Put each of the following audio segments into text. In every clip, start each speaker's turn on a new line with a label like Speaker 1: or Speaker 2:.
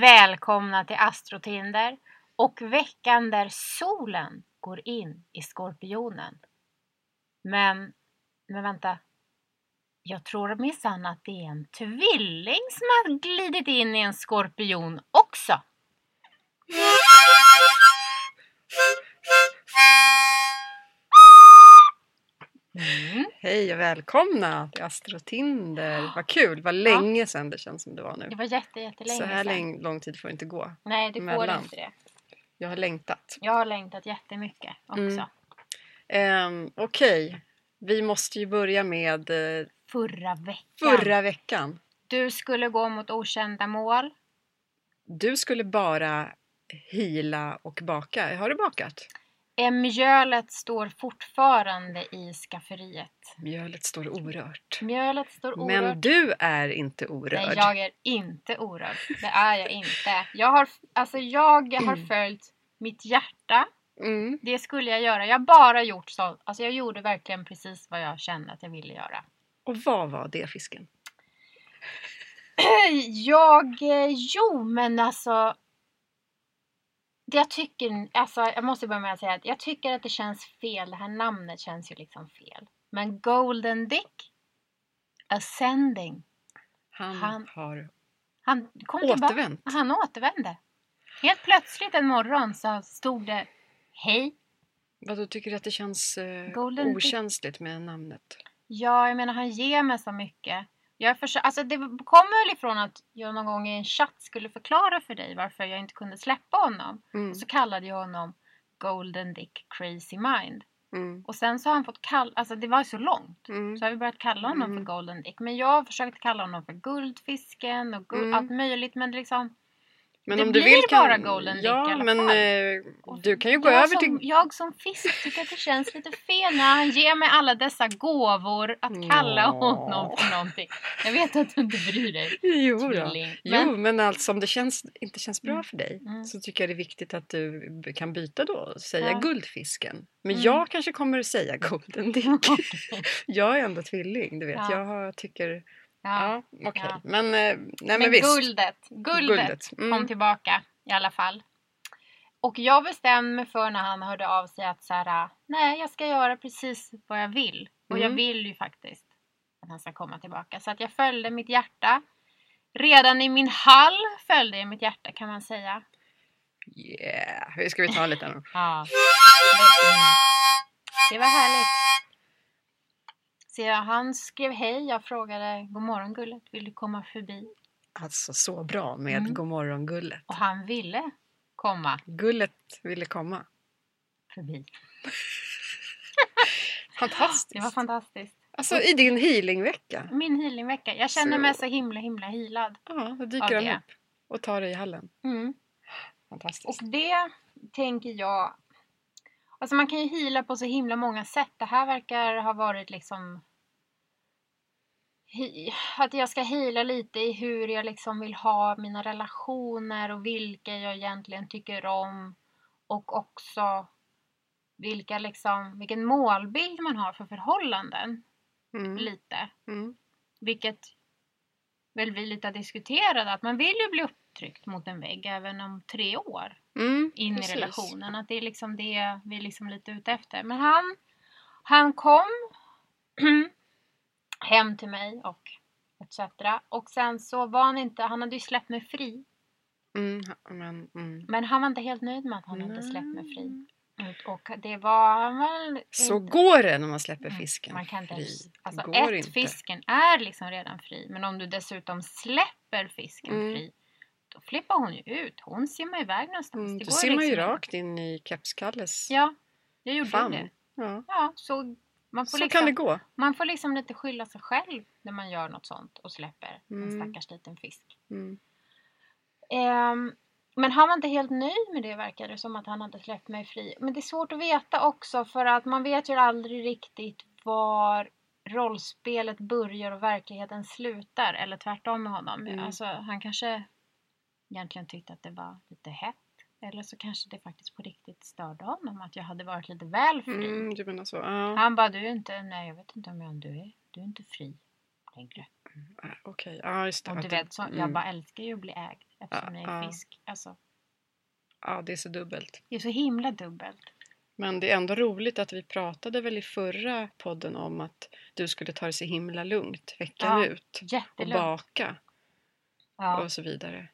Speaker 1: Välkomna till Astrotinder och veckan där solen går in i Skorpionen. Men, men vänta. Jag tror minsann att det är en tvilling som har glidit in i en skorpion också. Mm.
Speaker 2: Hej och välkomna till Astrotinder. Vad kul, vad länge sedan det känns som det var nu.
Speaker 1: Det var jätte, jättelänge
Speaker 2: Så här
Speaker 1: sedan.
Speaker 2: lång, lång tid får det inte gå.
Speaker 1: Nej, det går
Speaker 2: mellan.
Speaker 1: inte det.
Speaker 2: Jag har längtat.
Speaker 1: Jag har längtat jättemycket också.
Speaker 2: Mm. Ehm, Okej, vi måste ju börja med eh,
Speaker 1: Förra veckan.
Speaker 2: förra veckan.
Speaker 1: Du skulle gå mot okända mål.
Speaker 2: Du skulle bara hila och baka. Har du bakat?
Speaker 1: Eh, Mjölet står fortfarande i skafferiet.
Speaker 2: Mjölet står orört.
Speaker 1: Mjölet står orört.
Speaker 2: Men du är inte orörd.
Speaker 1: Nej, jag är inte orörd. Det är jag inte. Jag har, alltså, jag har följt mitt hjärta.
Speaker 2: Mm.
Speaker 1: Det skulle jag göra. Jag har bara gjort så. Alltså, jag gjorde verkligen precis vad jag kände att jag ville göra.
Speaker 2: Och vad var det fisken?
Speaker 1: Jag, eh, jo men alltså. Det jag tycker, alltså jag måste börja med att säga att jag tycker att det känns fel. Det här namnet känns ju liksom fel. Men Golden Dick Ascending.
Speaker 2: Han,
Speaker 1: Han-
Speaker 2: har
Speaker 1: Han kom tillbaka.
Speaker 2: återvänt.
Speaker 1: Han återvände. Helt plötsligt en morgon så stod det Hej.
Speaker 2: Vadå, tycker du att det känns eh,
Speaker 1: Golden Dick.
Speaker 2: okänsligt med namnet?
Speaker 1: Ja, jag menar han ger mig så mycket. Jag försö- alltså, det kommer väl ifrån att jag någon gång i en chatt skulle förklara för dig varför jag inte kunde släppa honom.
Speaker 2: Mm.
Speaker 1: Och så kallade jag honom Golden Dick Crazy Mind.
Speaker 2: Mm.
Speaker 1: Och sen så har han fått kalla, alltså det var ju så långt.
Speaker 2: Mm.
Speaker 1: Så har vi börjat kalla honom
Speaker 2: Mm.
Speaker 1: för Golden Dick. Men jag har försökt kalla honom för Guldfisken och guld,
Speaker 2: Mm.
Speaker 1: allt möjligt. Men liksom,
Speaker 2: Men
Speaker 1: Det
Speaker 2: om du
Speaker 1: blir
Speaker 2: vill kan...
Speaker 1: bara Golden Dick i
Speaker 2: Ja,
Speaker 1: alla
Speaker 2: men
Speaker 1: fall.
Speaker 2: eh,
Speaker 1: och
Speaker 2: du kan ju gå
Speaker 1: jag
Speaker 2: över
Speaker 1: som,
Speaker 2: till...
Speaker 1: Jag som fisk tycker att det känns lite fel när han ger mig alla dessa gåvor att kalla
Speaker 2: Ja.
Speaker 1: honom för någonting. Jag vet att du inte bryr dig.
Speaker 2: Jo, då.
Speaker 1: Tvilling. Men,
Speaker 2: jo, men alltså om det känns, inte känns bra
Speaker 1: Mm.
Speaker 2: för dig
Speaker 1: Mm.
Speaker 2: så tycker jag det är viktigt att du b- kan byta då och säga
Speaker 1: Ja.
Speaker 2: guldfisken. Men
Speaker 1: Mm.
Speaker 2: jag kanske kommer att säga golden dick. jag är ändå tvilling, du vet.
Speaker 1: Ja.
Speaker 2: Jag har, tycker...
Speaker 1: ja.
Speaker 2: Ja, okej.
Speaker 1: Ja.
Speaker 2: Men, eh, nej, men,
Speaker 1: men,
Speaker 2: visst.
Speaker 1: guldet, guldet,
Speaker 2: Mm.
Speaker 1: kom tillbaka i alla fall. Och jag bestämde mig för när han hörde av sig att så här, nej jag ska göra precis vad jag vill. Och jag
Speaker 2: Mm.
Speaker 1: vill ju faktiskt att han ska komma tillbaka. Så att jag följde mitt hjärta. Redan i min hall följde jag mitt hjärta kan man säga.
Speaker 2: Yeah. Hur ska vi ta en liten?
Speaker 1: Ja. Det var härligt. Så jag, han skrev hej, jag frågade god morgon gullet, vill du komma förbi?
Speaker 2: Alltså så bra med
Speaker 1: Mm.
Speaker 2: Godmorgon-gullet.
Speaker 1: Och han ville komma
Speaker 2: Gullet ville komma.
Speaker 1: förbi.
Speaker 2: Fantastiskt!
Speaker 1: Det var fantastiskt.
Speaker 2: Alltså i din healingvecka.
Speaker 1: Min healingvecka. Jag känner
Speaker 2: Så-
Speaker 1: mig så himla himla healad.
Speaker 2: Ja, då
Speaker 1: Av
Speaker 2: dyker han
Speaker 1: det.
Speaker 2: upp och tar dig i hallen.
Speaker 1: Mm. Och
Speaker 2: Fantastiskt.
Speaker 1: det tänker jag... Alltså man kan ju heala på så himla många sätt. Det här verkar ha varit liksom... he- Att jag ska heala lite i hur jag liksom vill ha mina relationer och vilka jag egentligen tycker om. Och också vilka liksom, vilken målbild man har för förhållanden.
Speaker 2: Mm.
Speaker 1: Lite.
Speaker 2: Mm.
Speaker 1: Vilket väl vi lite har diskuterat, att man vill ju bli upptryckt mot en vägg även om tre år
Speaker 2: Mm.
Speaker 1: in i
Speaker 2: precis.
Speaker 1: relationen. Att det är liksom det vi är liksom lite ute efter. Men han, han kom hem till mig och etc. Och sen så var han inte, han hade ju släppt mig fri.
Speaker 2: Mm. ja, Men, mm.
Speaker 1: Men han var inte helt nöjd med att han hade
Speaker 2: Nej.
Speaker 1: släppt mig fri. Och det var han väl
Speaker 2: Så går det när man släpper
Speaker 1: Mm,
Speaker 2: fisken
Speaker 1: Man kan inte
Speaker 2: fri.
Speaker 1: ens, alltså
Speaker 2: Går
Speaker 1: ett,
Speaker 2: inte.
Speaker 1: fisken är liksom redan fri. Men om du dessutom släpper fisken
Speaker 2: Mm.
Speaker 1: fri, då flippar hon ju ut. Hon simmar iväg någonstans.
Speaker 2: Mm. Du
Speaker 1: går
Speaker 2: simmar ju
Speaker 1: liksom inte.
Speaker 2: rakt in i kepskalles
Speaker 1: Ja, jag gjorde ju
Speaker 2: famn.
Speaker 1: det.
Speaker 2: Ja.
Speaker 1: Ja, så man får,
Speaker 2: Så kan det
Speaker 1: liksom,
Speaker 2: gå.
Speaker 1: man får liksom lite skylla sig själv när man gör något sånt och släpper en
Speaker 2: Mm.
Speaker 1: stackars liten fisk.
Speaker 2: Mm.
Speaker 1: Ehm, men han var inte helt nöjd med det verkar det som att han hade släppt mig fri. Men det är svårt att veta också för att man vet ju aldrig riktigt var rollspelet börjar och verkligheten slutar. Eller tvärtom med honom.
Speaker 2: Mm.
Speaker 1: Alltså han kanske egentligen tyckte att det var lite hett. Eller så kanske det faktiskt på riktigt störde honom att jag hade varit lite väl fri.
Speaker 2: Mm, du menar så. Ja.
Speaker 1: Han bara, du är inte, nej jag vet inte om jag, du är, du är inte fri längre.
Speaker 2: ah, Okej, ja just det.
Speaker 1: Och
Speaker 2: att
Speaker 1: du
Speaker 2: det-
Speaker 1: vet, så, jag
Speaker 2: mm.
Speaker 1: bara älskar ju att bli ägd eftersom
Speaker 2: Ja,
Speaker 1: jag är
Speaker 2: ja.
Speaker 1: fisk. Alltså,
Speaker 2: Ja, det är så dubbelt.
Speaker 1: det är så himla dubbelt.
Speaker 2: Men det är ändå roligt att vi pratade väl i förra podden om att du skulle ta det så himla lugnt veckan
Speaker 1: Ja,
Speaker 2: ut och
Speaker 1: Jättelugnt.
Speaker 2: baka
Speaker 1: Ja.
Speaker 2: och så vidare.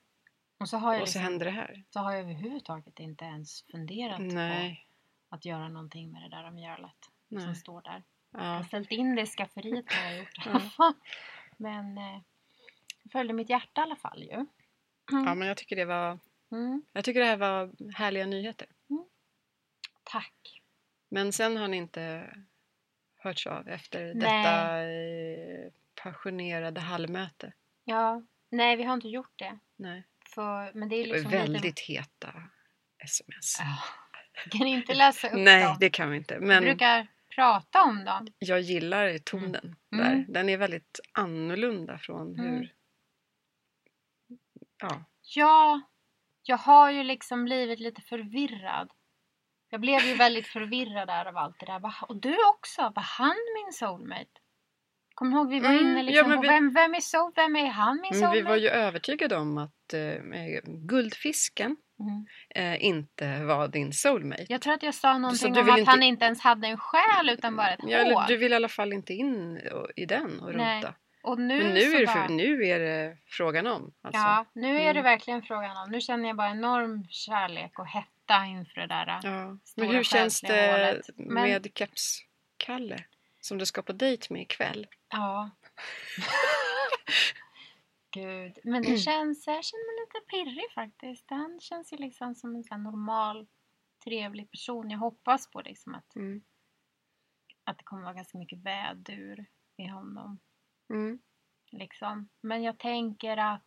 Speaker 1: Och så har jag,
Speaker 2: Och så
Speaker 1: liksom,
Speaker 2: händer det här.
Speaker 1: så har jag överhuvudtaget inte ens funderat på
Speaker 2: Nej.
Speaker 1: att göra någonting med det där mjölet som
Speaker 2: nej.
Speaker 1: står där. Jag har
Speaker 2: Ja.
Speaker 1: ställt in det i skafferiet när jag gjort det. Men eh, jag följde mitt hjärta i alla fall ju.
Speaker 2: ja, men jag tycker det var...
Speaker 1: Mm.
Speaker 2: Jag tycker det här var härliga nyheter.
Speaker 1: Tack.
Speaker 2: Men sen har ni inte hörts av
Speaker 1: Nej.
Speaker 2: efter detta eh, passionerade halvmöte.
Speaker 1: Ja, nej vi har inte gjort det.
Speaker 2: Nej.
Speaker 1: För, men det är
Speaker 2: Det var ju
Speaker 1: liksom Lite...
Speaker 2: väldigt heta sms.
Speaker 1: Ja. Kan inte läsa upp
Speaker 2: Nej,
Speaker 1: dem.
Speaker 2: det kan vi inte.
Speaker 1: Jag
Speaker 2: Men
Speaker 1: brukar prata om dem.
Speaker 2: jag gillar tonen
Speaker 1: Mm.
Speaker 2: där. Den är väldigt annorlunda från
Speaker 1: Mm.
Speaker 2: hur... Ja.
Speaker 1: Ja, jag har ju liksom blivit lite förvirrad. Jag blev ju väldigt förvirrad där av allt det där. Vad- Och du också, var han min soulmate? Kommer du ihåg vi var
Speaker 2: Mm,
Speaker 1: inne
Speaker 2: ja,
Speaker 1: liksom
Speaker 2: men
Speaker 1: på
Speaker 2: vi-
Speaker 1: vem, vem är soul, vem är han min
Speaker 2: Men
Speaker 1: soulmate?
Speaker 2: vi var ju övertygade om att eh, guldfisken
Speaker 1: Mm.
Speaker 2: eh, inte var din soulmate.
Speaker 1: Jag tror att jag sa någonting
Speaker 2: du
Speaker 1: om
Speaker 2: vill
Speaker 1: att
Speaker 2: inte-
Speaker 1: han inte ens hade en själ utan bara ett
Speaker 2: Ja, eller
Speaker 1: hål.
Speaker 2: du vill i alla fall inte in och- i den och rota.
Speaker 1: Nej, Och nu,
Speaker 2: Men nu
Speaker 1: så
Speaker 2: är, det
Speaker 1: bara...
Speaker 2: för, nu är det frågan om. Alltså.
Speaker 1: Ja, nu är det
Speaker 2: Mm.
Speaker 1: verkligen frågan om. Nu känner jag bara enorm kärlek och hetta inför det där.
Speaker 2: Ja.
Speaker 1: Stora
Speaker 2: Men hur känns
Speaker 1: själsliga
Speaker 2: det
Speaker 1: målet. Men-
Speaker 2: med keps-Kalle som du ska på dejt med ikväll?
Speaker 1: Ja. Gud, men det känns, jag känner mig lite pirrig faktiskt. Han känns ju liksom som en sån här normal, trevlig person. Jag hoppas på liksom att,
Speaker 2: Mm.
Speaker 1: att det kommer vara ganska mycket vädur i honom.
Speaker 2: Mm.
Speaker 1: Liksom. Men jag tänker att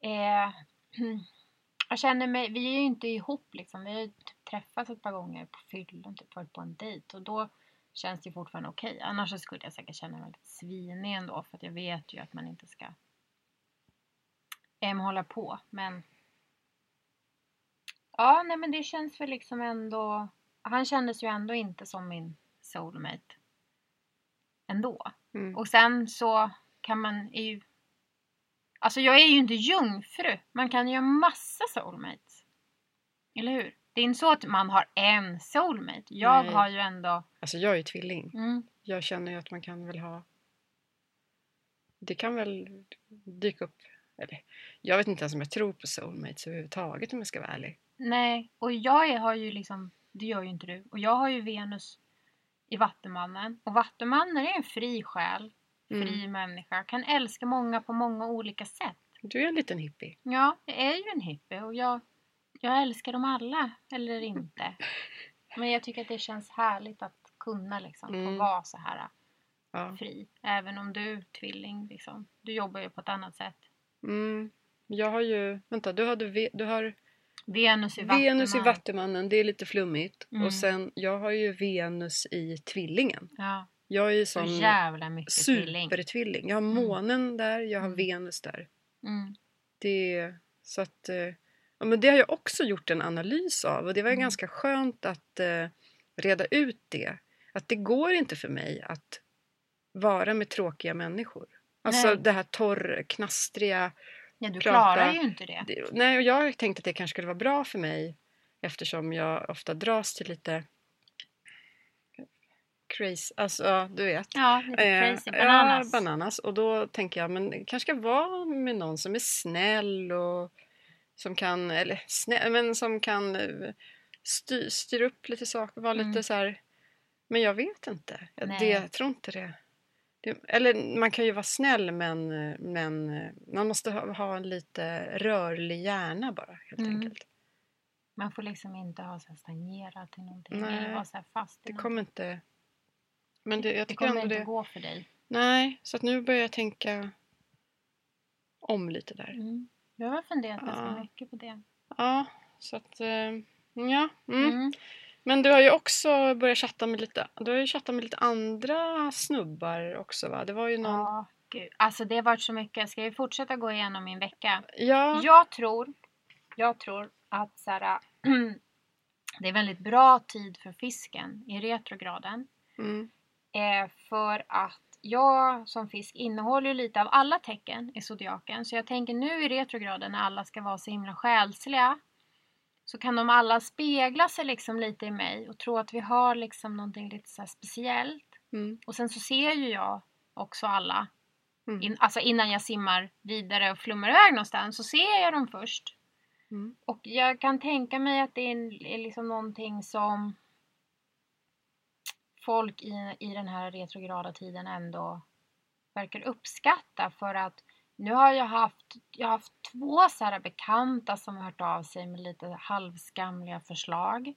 Speaker 1: eh, jag känner mig, vi är ju inte ihop liksom. Vi har ju typ träffats ett par gånger på fyllan, typ varit på en dejt och då känns det ju fortfarande okej. Annars så skulle jag säkert känna mig lite svinig ändå för att jag vet ju att man inte ska em, hålla på. Men ja, nej men det känns väl liksom ändå. Han kändes ju ändå inte som min soulmate ändå.
Speaker 2: Mm.
Speaker 1: Och sen så kan man är ju... Alltså jag är ju inte jungfru. Man kan ju ha massa soulmates. Eller hur? Det är inte så att man har en soulmate. Jag
Speaker 2: Nej.
Speaker 1: har ju ändå...
Speaker 2: Alltså jag är ju tvilling.
Speaker 1: Mm,
Speaker 2: Jag känner ju att man kan väl ha... Det kan väl dyka upp... Eller, jag vet inte ens om jag tror på soulmates överhuvudtaget om jag ska vara ärlig.
Speaker 1: nej, och jag är, har ju liksom... Det gör ju inte du. Och jag har ju Venus i Vattumannen. Och Vattumannen är en fri själ.
Speaker 2: Mm.
Speaker 1: Fri människa. Kan älska många på många olika sätt.
Speaker 2: Du är en liten hippie.
Speaker 1: Ja, jag är ju en hippie och jag, jag älskar dem alla, eller inte. Men jag tycker att det känns härligt att kunna liksom få
Speaker 2: Mm.
Speaker 1: vara så här äh,
Speaker 2: Ja.
Speaker 1: fri. Även om du tvilling, liksom. du jobbar ju på ett annat sätt.
Speaker 2: Mm. Jag har ju... Vänta, du, hade, ve- du har
Speaker 1: Venus i
Speaker 2: Venus i
Speaker 1: Vattuman.
Speaker 2: Vattumannen. Det är lite flummigt.
Speaker 1: Mm.
Speaker 2: Och sen, jag har ju Venus i Tvillingen.
Speaker 1: Ja,
Speaker 2: Jag är ju
Speaker 1: så
Speaker 2: som
Speaker 1: jävla mycket tvilling.
Speaker 2: supertvilling. Jag har
Speaker 1: Mm.
Speaker 2: månen där, jag har
Speaker 1: Mm.
Speaker 2: Venus där.
Speaker 1: Mm.
Speaker 2: Det, så att, eh, ja, men det har jag också gjort en analys av och det var ju
Speaker 1: Mm.
Speaker 2: ganska skönt att eh, reda ut det. Att det går inte för mig att vara med tråkiga människor. Alltså
Speaker 1: Nej.
Speaker 2: det här torr, knastriga.
Speaker 1: Ja, du
Speaker 2: Prata.
Speaker 1: klarar ju inte det.
Speaker 2: Det, nej, och jag tänkte att det kanske skulle vara bra för mig eftersom jag ofta dras till lite crazy, alltså ja, du vet.
Speaker 1: Ja, lite crazy
Speaker 2: Eh,
Speaker 1: bananas.
Speaker 2: Ja, bananas. Och då tänker jag, men det kanske ska vara med någon som är snäll och som kan, eller snäll, men som kan eh, sty, styra upp lite saker, vara
Speaker 1: Mm.
Speaker 2: lite så här. Men jag vet inte. Jag,
Speaker 1: Nej.
Speaker 2: det, jag tror inte det. det. Eller man kan ju vara snäll men, eh, men eh, man måste ha, ha en lite rörlig hjärna bara helt
Speaker 1: Mm.
Speaker 2: enkelt.
Speaker 1: Man får liksom inte ha så här stagnerat till någonting.
Speaker 2: Nej.
Speaker 1: Eller vara så här fast i
Speaker 2: Det
Speaker 1: någonting.
Speaker 2: kommer inte... Men det, jag
Speaker 1: det
Speaker 2: tycker
Speaker 1: kommer
Speaker 2: ändå
Speaker 1: inte
Speaker 2: det...
Speaker 1: gå för dig.
Speaker 2: Nej, så att nu börjar jag tänka om lite där.
Speaker 1: Mm. Jag har funderat ganska
Speaker 2: Ja.
Speaker 1: mycket på det.
Speaker 2: Ja, så att... eh, Ja. Mm.
Speaker 1: Mm.
Speaker 2: Men du har ju också börjat chatta med lite, du har ju chattat med lite andra snubbar också va? Det var ju någon...
Speaker 1: Ja, gud. Alltså det har varit så mycket. Ska vi fortsätta gå igenom min vecka?
Speaker 2: Ja.
Speaker 1: Jag tror, jag tror att så här, det är väldigt bra tid för fisken i retrograden.
Speaker 2: Mm.
Speaker 1: Eh, för att jag som fisk innehåller ju lite av alla tecken i zodiaken. Så jag tänker nu i retrograden när alla ska vara så himla själsliga så kan de alla spegla sig liksom lite i mig och tro att vi har liksom någonting lite så här speciellt.
Speaker 2: Mm.
Speaker 1: Och sen så ser ju jag också alla.
Speaker 2: Mm.
Speaker 1: In, alltså innan jag simmar vidare och flummar iväg någonstans så ser jag dem först.
Speaker 2: Mm.
Speaker 1: Och jag kan tänka mig att det är en- är liksom någonting som folk i, i den här retrograda tiden ändå verkar uppskatta för att nu har jag haft, jag har haft två så här bekanta som har hört av sig med lite halvskamliga förslag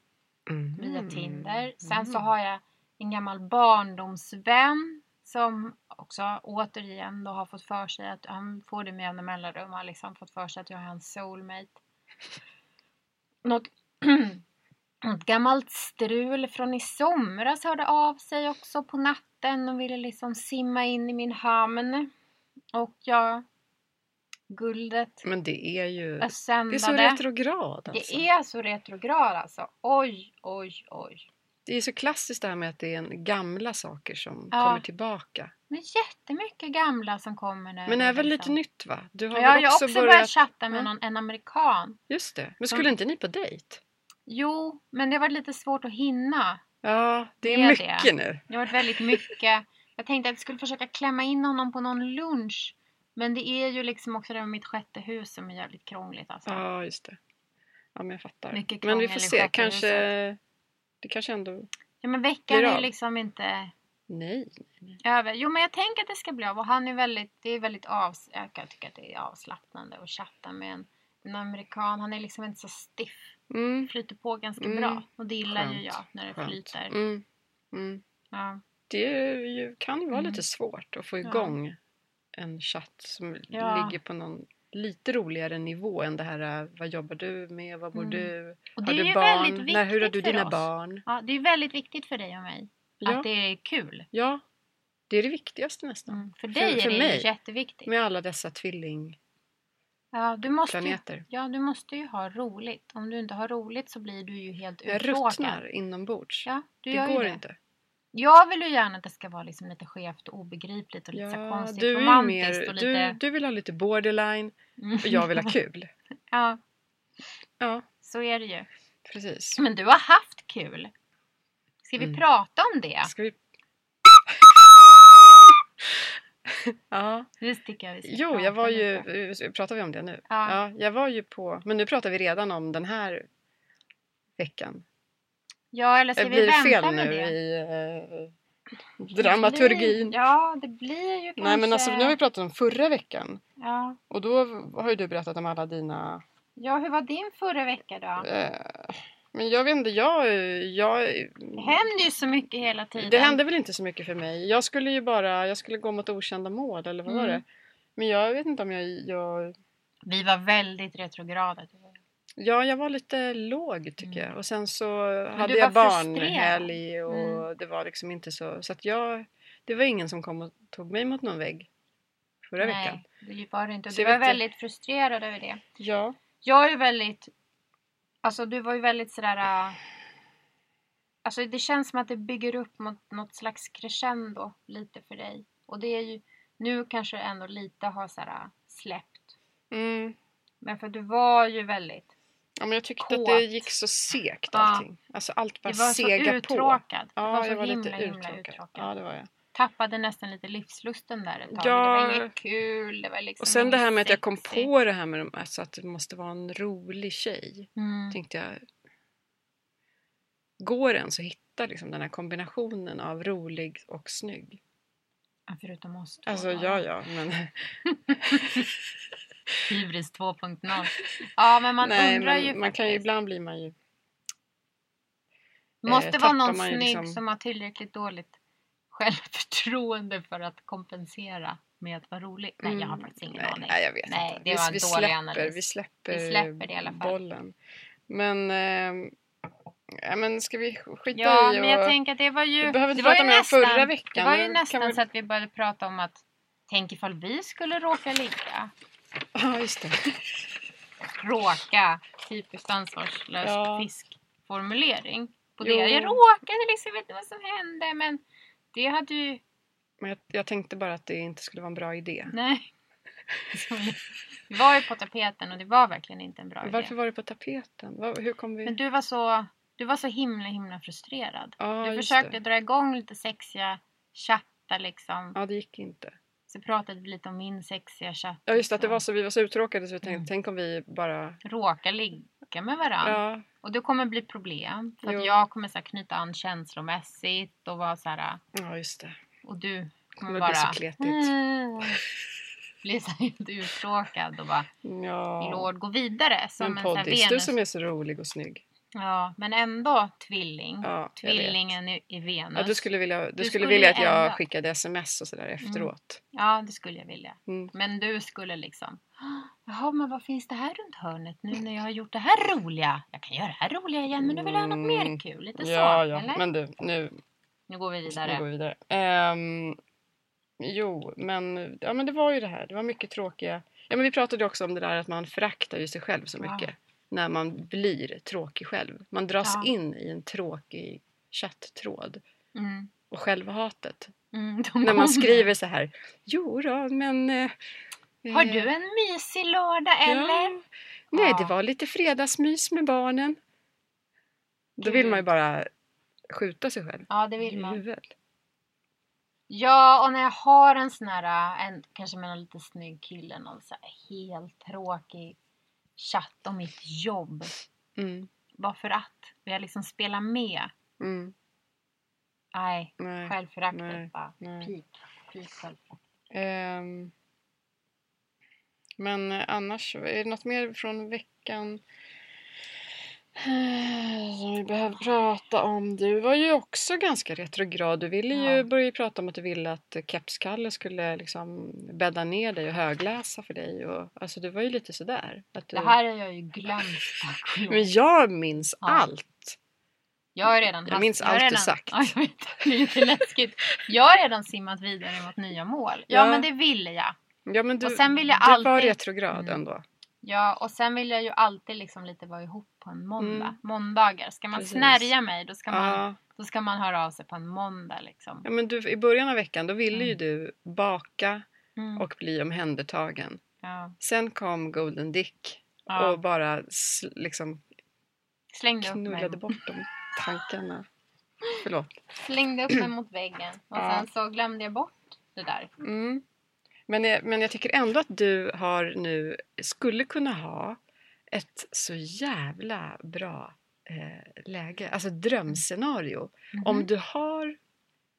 Speaker 2: mm.
Speaker 1: via Tinder. Sen så har jag en gammal barndomsvän som också återigen då har fått för sig att han får det med jämna mellanrum. Han har liksom fått för sig att jag är hans soulmate. Något, något gammalt strul från i somras hörde av sig också på natten och ville liksom simma in i min hamn. Och jag, guldet,
Speaker 2: Men det är ju...
Speaker 1: jag
Speaker 2: Det är så
Speaker 1: sändade.
Speaker 2: retrograd alltså.
Speaker 1: Det är så retrograd alltså. Oj, oj, oj.
Speaker 2: Det är så klassiskt det här med att det är en gamla saker som
Speaker 1: Ja.
Speaker 2: kommer tillbaka.
Speaker 1: Men jättemycket gamla som kommer nu.
Speaker 2: Men även lite
Speaker 1: liksom.
Speaker 2: nytt va? Du har
Speaker 1: Ja, jag har
Speaker 2: väl också, börjat...
Speaker 1: chatta med
Speaker 2: Ja.
Speaker 1: någon, en amerikan.
Speaker 2: Just det. Men skulle inte ni på dejt?
Speaker 1: Jo, men det var lite svårt att hinna.
Speaker 2: Ja, det är
Speaker 1: Det är
Speaker 2: mycket
Speaker 1: det.
Speaker 2: nu.
Speaker 1: Det har varit väldigt mycket. Jag tänkte att jag skulle försöka klämma in honom på någon lunch. Men det är ju liksom också det med mitt sjätte hus som är jävligt krångligt alltså.
Speaker 2: Ja, just det. Ja, men jag fattar.
Speaker 1: Mycket
Speaker 2: men
Speaker 1: krångel
Speaker 2: vi får
Speaker 1: i
Speaker 2: se.
Speaker 1: sköthuset.
Speaker 2: Kanske... Det kanske ändå...
Speaker 1: Ja, men veckan
Speaker 2: Blir det
Speaker 1: är ju
Speaker 2: av?
Speaker 1: liksom inte
Speaker 2: Nej.
Speaker 1: över. Jo, men jag tänker att det ska bli av. Och han är väldigt, det är väldigt avs- jag kan tycka att det är avslappnande att chatta med en, en amerikan. Han är liksom inte så stiff.
Speaker 2: Mm.
Speaker 1: flyter på ganska
Speaker 2: Mm.
Speaker 1: bra. Och det gillar ju
Speaker 2: Skönt,
Speaker 1: jag när det
Speaker 2: skönt.
Speaker 1: flyter.
Speaker 2: Mm. Mm.
Speaker 1: Ja.
Speaker 2: Det är ju, kan ju vara
Speaker 1: Mm.
Speaker 2: lite svårt att få
Speaker 1: Ja.
Speaker 2: igång en chatt som
Speaker 1: Ja.
Speaker 2: ligger på någon lite roligare nivå än det här eh, vad jobbar du med, vad bor
Speaker 1: Mm.
Speaker 2: du,
Speaker 1: Och det
Speaker 2: har
Speaker 1: är ju
Speaker 2: du
Speaker 1: väldigt
Speaker 2: barn,
Speaker 1: viktigt
Speaker 2: när, hur har du
Speaker 1: för
Speaker 2: dina
Speaker 1: oss.
Speaker 2: barn?
Speaker 1: Ja, det är väldigt viktigt för dig och mig
Speaker 2: Ja,
Speaker 1: att det är kul.
Speaker 2: ja, det är det viktigaste nästan.
Speaker 1: Mm. För dig
Speaker 2: för
Speaker 1: är det
Speaker 2: mig.
Speaker 1: ju jätteviktigt.
Speaker 2: Med alla dessa tvillingplaneter.
Speaker 1: Ja du, måste ju, ja, du måste ju ha roligt. Om du inte har roligt så blir du ju helt
Speaker 2: Jag
Speaker 1: uttråkad.
Speaker 2: ruttnar inombords.
Speaker 1: Ja, du gör
Speaker 2: det
Speaker 1: ju
Speaker 2: går
Speaker 1: det.
Speaker 2: inte.
Speaker 1: Jag vill ju gärna att det ska vara liksom lite skevt och obegripligt och lite så här
Speaker 2: Ja,
Speaker 1: konstigt
Speaker 2: du, är ju
Speaker 1: romantiskt
Speaker 2: mer,
Speaker 1: och lite...
Speaker 2: du, du vill ha lite borderline
Speaker 1: Mm.
Speaker 2: och jag vill ha kul.
Speaker 1: ja,
Speaker 2: Ja,
Speaker 1: så är det ju.
Speaker 2: precis.
Speaker 1: Men du har haft kul. Ska vi
Speaker 2: Mm.
Speaker 1: prata om det?
Speaker 2: Ska vi... ja.
Speaker 1: Det tycker jag vi ska
Speaker 2: Jo,
Speaker 1: prata
Speaker 2: jag var ju...
Speaker 1: lite.
Speaker 2: eh, Pratar vi om det nu?
Speaker 1: Ja.
Speaker 2: jag var ju på... Men nu pratar vi redan om den här veckan.
Speaker 1: Ja, eller ska
Speaker 2: det
Speaker 1: vi
Speaker 2: blir
Speaker 1: vänta
Speaker 2: fel
Speaker 1: med
Speaker 2: nu
Speaker 1: det?
Speaker 2: i eh, dramaturgin.
Speaker 1: Det blir, ja, det blir ju kanske...
Speaker 2: Nej, men alltså nu har vi pratat om förra veckan.
Speaker 1: ja.
Speaker 2: Och då har ju du berättat om alla dina...
Speaker 1: ja, hur var din förra vecka då?
Speaker 2: Eh, men jag vet inte, jag... jag
Speaker 1: Det händer ju så mycket hela tiden.
Speaker 2: Det hände väl inte så mycket för mig. Jag skulle ju bara, jag skulle gå mot okända mål eller vad var
Speaker 1: Mm.
Speaker 2: det? Men jag vet inte om jag, jag,
Speaker 1: Vi var väldigt retrograda. du och jag.
Speaker 2: ja jag var lite låg tycker
Speaker 1: Mm.
Speaker 2: jag. Och sen så hade
Speaker 1: du
Speaker 2: jag
Speaker 1: var frustrerad. Mm.
Speaker 2: barnhelg och det var liksom inte så, så att jag, det var ingen som kom och tog mig mot någon vägg förra veckan.
Speaker 1: Nej, det var det inte. Och
Speaker 2: Så
Speaker 1: Du
Speaker 2: jag
Speaker 1: var
Speaker 2: vet inte.
Speaker 1: väldigt frustrerad över det.
Speaker 2: Ja.
Speaker 1: Jag är ju väldigt... Alltså du var ju väldigt sådär... äh, Alltså det känns som att det bygger upp mot något slags crescendo lite för dig. Och det är ju... Nu kanske ändå lite har sådär äh, släppt.
Speaker 2: Mm.
Speaker 1: Men för du var ju väldigt...
Speaker 2: ja men jag tyckte att det
Speaker 1: Kåt.
Speaker 2: gick så segt
Speaker 1: Ja.
Speaker 2: allting. Alltså allt bara
Speaker 1: Du var så
Speaker 2: sega på.
Speaker 1: uttråkad. du var
Speaker 2: Ja,
Speaker 1: så
Speaker 2: jag var
Speaker 1: himla,
Speaker 2: lite
Speaker 1: himla
Speaker 2: uttråkad.
Speaker 1: uttråkad.
Speaker 2: Ja, det var jag.
Speaker 1: Tappade nästan lite livslusten där ett tag.
Speaker 2: Ja.
Speaker 1: Det var inget kul. Det var liksom
Speaker 2: Och sen
Speaker 1: inget
Speaker 2: det här med att jag kom
Speaker 1: sexigt.
Speaker 2: på det här med de, alltså att det måste vara en rolig tjej.
Speaker 1: Mm.
Speaker 2: Tänkte jag, går det ens att hitta liksom den här kombinationen av rolig och snygg?
Speaker 1: Ja, Förutom oss två.
Speaker 2: Alltså
Speaker 1: då.
Speaker 2: ja, ja, men
Speaker 1: Hybris 2.0. Ja, men man
Speaker 2: nej,
Speaker 1: undrar
Speaker 2: men
Speaker 1: ju
Speaker 2: man
Speaker 1: faktiskt.
Speaker 2: kan ju ibland blir man ju.
Speaker 1: Måste
Speaker 2: eh,
Speaker 1: vara
Speaker 2: tappar
Speaker 1: någon
Speaker 2: man ju
Speaker 1: snygg
Speaker 2: liksom-
Speaker 1: som har tillräckligt dåligt självförtroende för att kompensera med att vara rolig. Nej, jag har
Speaker 2: Mm,
Speaker 1: faktiskt ingen
Speaker 2: nej,
Speaker 1: aning.
Speaker 2: Nej, jag vet
Speaker 1: Nej,
Speaker 2: inte.
Speaker 1: det var en
Speaker 2: vi,
Speaker 1: dålig
Speaker 2: släpper,
Speaker 1: analys.
Speaker 2: vi släpper,
Speaker 1: Vi släpper det i alla fall.
Speaker 2: bollen. Men, eh, ja, men ska vi skita
Speaker 1: Ja,
Speaker 2: i
Speaker 1: men jag
Speaker 2: och-
Speaker 1: tänker att det var ju...
Speaker 2: Vi behöver inte
Speaker 1: det var
Speaker 2: prata
Speaker 1: ju
Speaker 2: mer om
Speaker 1: nästan-
Speaker 2: förra veckan.
Speaker 1: Det var ju
Speaker 2: Nu
Speaker 1: nästan
Speaker 2: kan vi-
Speaker 1: så att vi började prata om att tänk ifall vi skulle råka ligga.
Speaker 2: Ja, just det.
Speaker 1: Råka, typiskt ansvarslös
Speaker 2: Ja.
Speaker 1: fiskformulering. På
Speaker 2: Jo.
Speaker 1: det. Jag råkade liksom, jag vet inte vad som hände men det hade ju
Speaker 2: Men jag, jag tänkte bara att det inte skulle vara en bra idé.
Speaker 1: Nej. Vi var ju på tapeten och det var verkligen inte en bra
Speaker 2: Varför
Speaker 1: idé.
Speaker 2: var det på tapeten? Var, hur kom vi...
Speaker 1: Men du var så, du var så himla himla frustrerad.
Speaker 2: ja,
Speaker 1: du
Speaker 2: just
Speaker 1: försökte
Speaker 2: Det.
Speaker 1: dra igång lite sexiga chattar liksom.
Speaker 2: Ja, det gick inte.
Speaker 1: Så pratade vi lite om min sexiga liksom. chatt.
Speaker 2: Ja, just det, att det var så, vi var så uttråkade så vi tänkte,
Speaker 1: Mm.
Speaker 2: tänk om vi bara...
Speaker 1: Råka ligga med varandra.
Speaker 2: Ja,
Speaker 1: Och det kommer bli problem. För
Speaker 2: Jo.
Speaker 1: att jag kommer så här, knyta an känslomässigt och vara så här.
Speaker 2: ja just det.
Speaker 1: Och du
Speaker 2: Kommer
Speaker 1: kommer
Speaker 2: bli
Speaker 1: bara...
Speaker 2: så kletigt.
Speaker 1: Mm. Bli så här helt uttråkad och bara
Speaker 2: Ja.
Speaker 1: Lord gå vidare. Som
Speaker 2: Men
Speaker 1: en, en
Speaker 2: poddis, du
Speaker 1: Venus.
Speaker 2: som är så rolig och snygg.
Speaker 1: Ja, men ändå tvilling.
Speaker 2: Ja, jag vet.
Speaker 1: Mm. Tvillingen i, i Venus.
Speaker 2: Ja, du skulle vilja, du skulle
Speaker 1: skulle
Speaker 2: vilja
Speaker 1: ju
Speaker 2: att jag
Speaker 1: ändra. Mm.
Speaker 2: skickade sms och sådär efteråt.
Speaker 1: Ja, det skulle jag vilja.
Speaker 2: Mm.
Speaker 1: Men du skulle liksom... Jaha, men vad finns det här runt hörnet nu när jag har gjort det här roliga? Jag kan göra det här roliga igen, men nu vill jag ha något
Speaker 2: Mm.
Speaker 1: mer kul. Lite
Speaker 2: Ja,
Speaker 1: så,
Speaker 2: ja.
Speaker 1: eller?
Speaker 2: Men du, nu
Speaker 1: Nu går vi
Speaker 2: ska vi gå
Speaker 1: vidare.
Speaker 2: vidare. Ehm, jo, men, ja, men det var ju det här. Det var mycket tråkiga... Ja, men vi pratade också om det där att man föraktar ju sig själv så
Speaker 1: Ja.
Speaker 2: mycket. När man blir tråkig själv. Man dras
Speaker 1: Ja.
Speaker 2: in i en tråkig chatttråd.
Speaker 1: Mm.
Speaker 2: Och självhatet.
Speaker 1: Mm, de
Speaker 2: När man
Speaker 1: kommer.
Speaker 2: skriver så här. Jo då, men... eh,
Speaker 1: Har
Speaker 2: eh,
Speaker 1: du en mysig lördag eller?
Speaker 2: Ja. Nej, det
Speaker 1: Ja.
Speaker 2: var lite fredagsmys med barnen. Då vill
Speaker 1: Gud.
Speaker 2: man ju bara skjuta sig själv.
Speaker 1: Ja, Mm. det
Speaker 2: i
Speaker 1: vill man.
Speaker 2: huvudet.
Speaker 1: Ja, och när jag har en sån här, en, kanske med någon lite snygg kille, någon så här helt tråkig chatt om mitt jobb.
Speaker 2: Mm.
Speaker 1: Bara för att. Och jag liksom spelar med.
Speaker 2: Mm.
Speaker 1: Nej,
Speaker 2: Nej. Nej. Mm.
Speaker 1: självföraktet bara.
Speaker 2: Nej.
Speaker 1: Pik, pik självförakt.
Speaker 2: Ehm. men eh, annars, är det något mer från veckan eh, som vi behöver prata om? Du var ju också ganska retrograd. Du ville ju
Speaker 1: Ja.
Speaker 2: börja ju prata om att du ville att eh, Kepskalle skulle liksom bädda ner dig och högläsa för dig. Och, alltså du var ju lite sådär. Att du,
Speaker 1: Det här har jag ju glömt tack och lov.
Speaker 2: Men jag minns
Speaker 1: Ja.
Speaker 2: allt.
Speaker 1: Jag har redan
Speaker 2: Jag
Speaker 1: haft-
Speaker 2: minns
Speaker 1: har
Speaker 2: allt du
Speaker 1: redan,
Speaker 2: sagt.
Speaker 1: Ja, jag vet, det är lite läskigt. Jag har redan simmat vidare mot nya mål. Ja,
Speaker 2: Ja.
Speaker 1: men det ville jag.
Speaker 2: Ja, men du,
Speaker 1: Och sen vill jag
Speaker 2: du var
Speaker 1: alltid-
Speaker 2: retrograd
Speaker 1: Mm.
Speaker 2: ändå.
Speaker 1: Ja, och sen vill jag ju alltid liksom lite vara ihop på en måndag.
Speaker 2: Mm.
Speaker 1: Måndagar. Ska man
Speaker 2: Precis.
Speaker 1: snärja mig då ska, man,
Speaker 2: Ja.
Speaker 1: då ska man höra av sig på en måndag liksom.
Speaker 2: Ja, men du, I början av veckan då ville
Speaker 1: Mm.
Speaker 2: ju du baka
Speaker 1: Mm.
Speaker 2: och bli omhändertagen.
Speaker 1: ja.
Speaker 2: Sen kom Golden Dick
Speaker 1: Ja.
Speaker 2: och bara sl- liksom
Speaker 1: Slängde, upp mig,
Speaker 2: knullade bort de tankarna. Förlåt.
Speaker 1: slängde upp mig mot väggen och
Speaker 2: Ja.
Speaker 1: sen så glömde jag bort det där.
Speaker 2: Mm. Men, jag, men jag tycker ändå att du har nu, skulle kunna ha ett så jävla bra eh, läge, alltså drömscenario. Om du har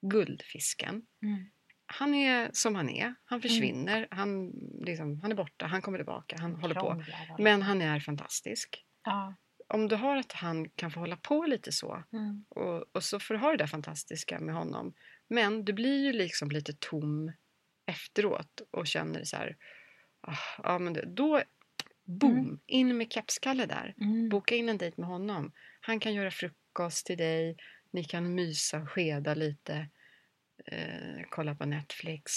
Speaker 2: guldfisken
Speaker 1: Mm.
Speaker 2: han är som han är. Han försvinner, han, liksom, han är borta, han kommer tillbaka, han håller på.
Speaker 1: Krånglar och-
Speaker 2: Men han är fantastisk.
Speaker 1: Ja.
Speaker 2: Om du har att han kan få hålla på lite så
Speaker 1: Mm.
Speaker 2: och, och så får du ha det där fantastiska med honom. Men du blir ju liksom lite tom efteråt och känner så här, ah, ja men det, då, boom, in med kepskalle där.
Speaker 1: Mm.
Speaker 2: Boka in en dejt med honom. Han kan göra frukost till dig. Ni kan mysa, skeda lite. Eh, kolla på Netflix.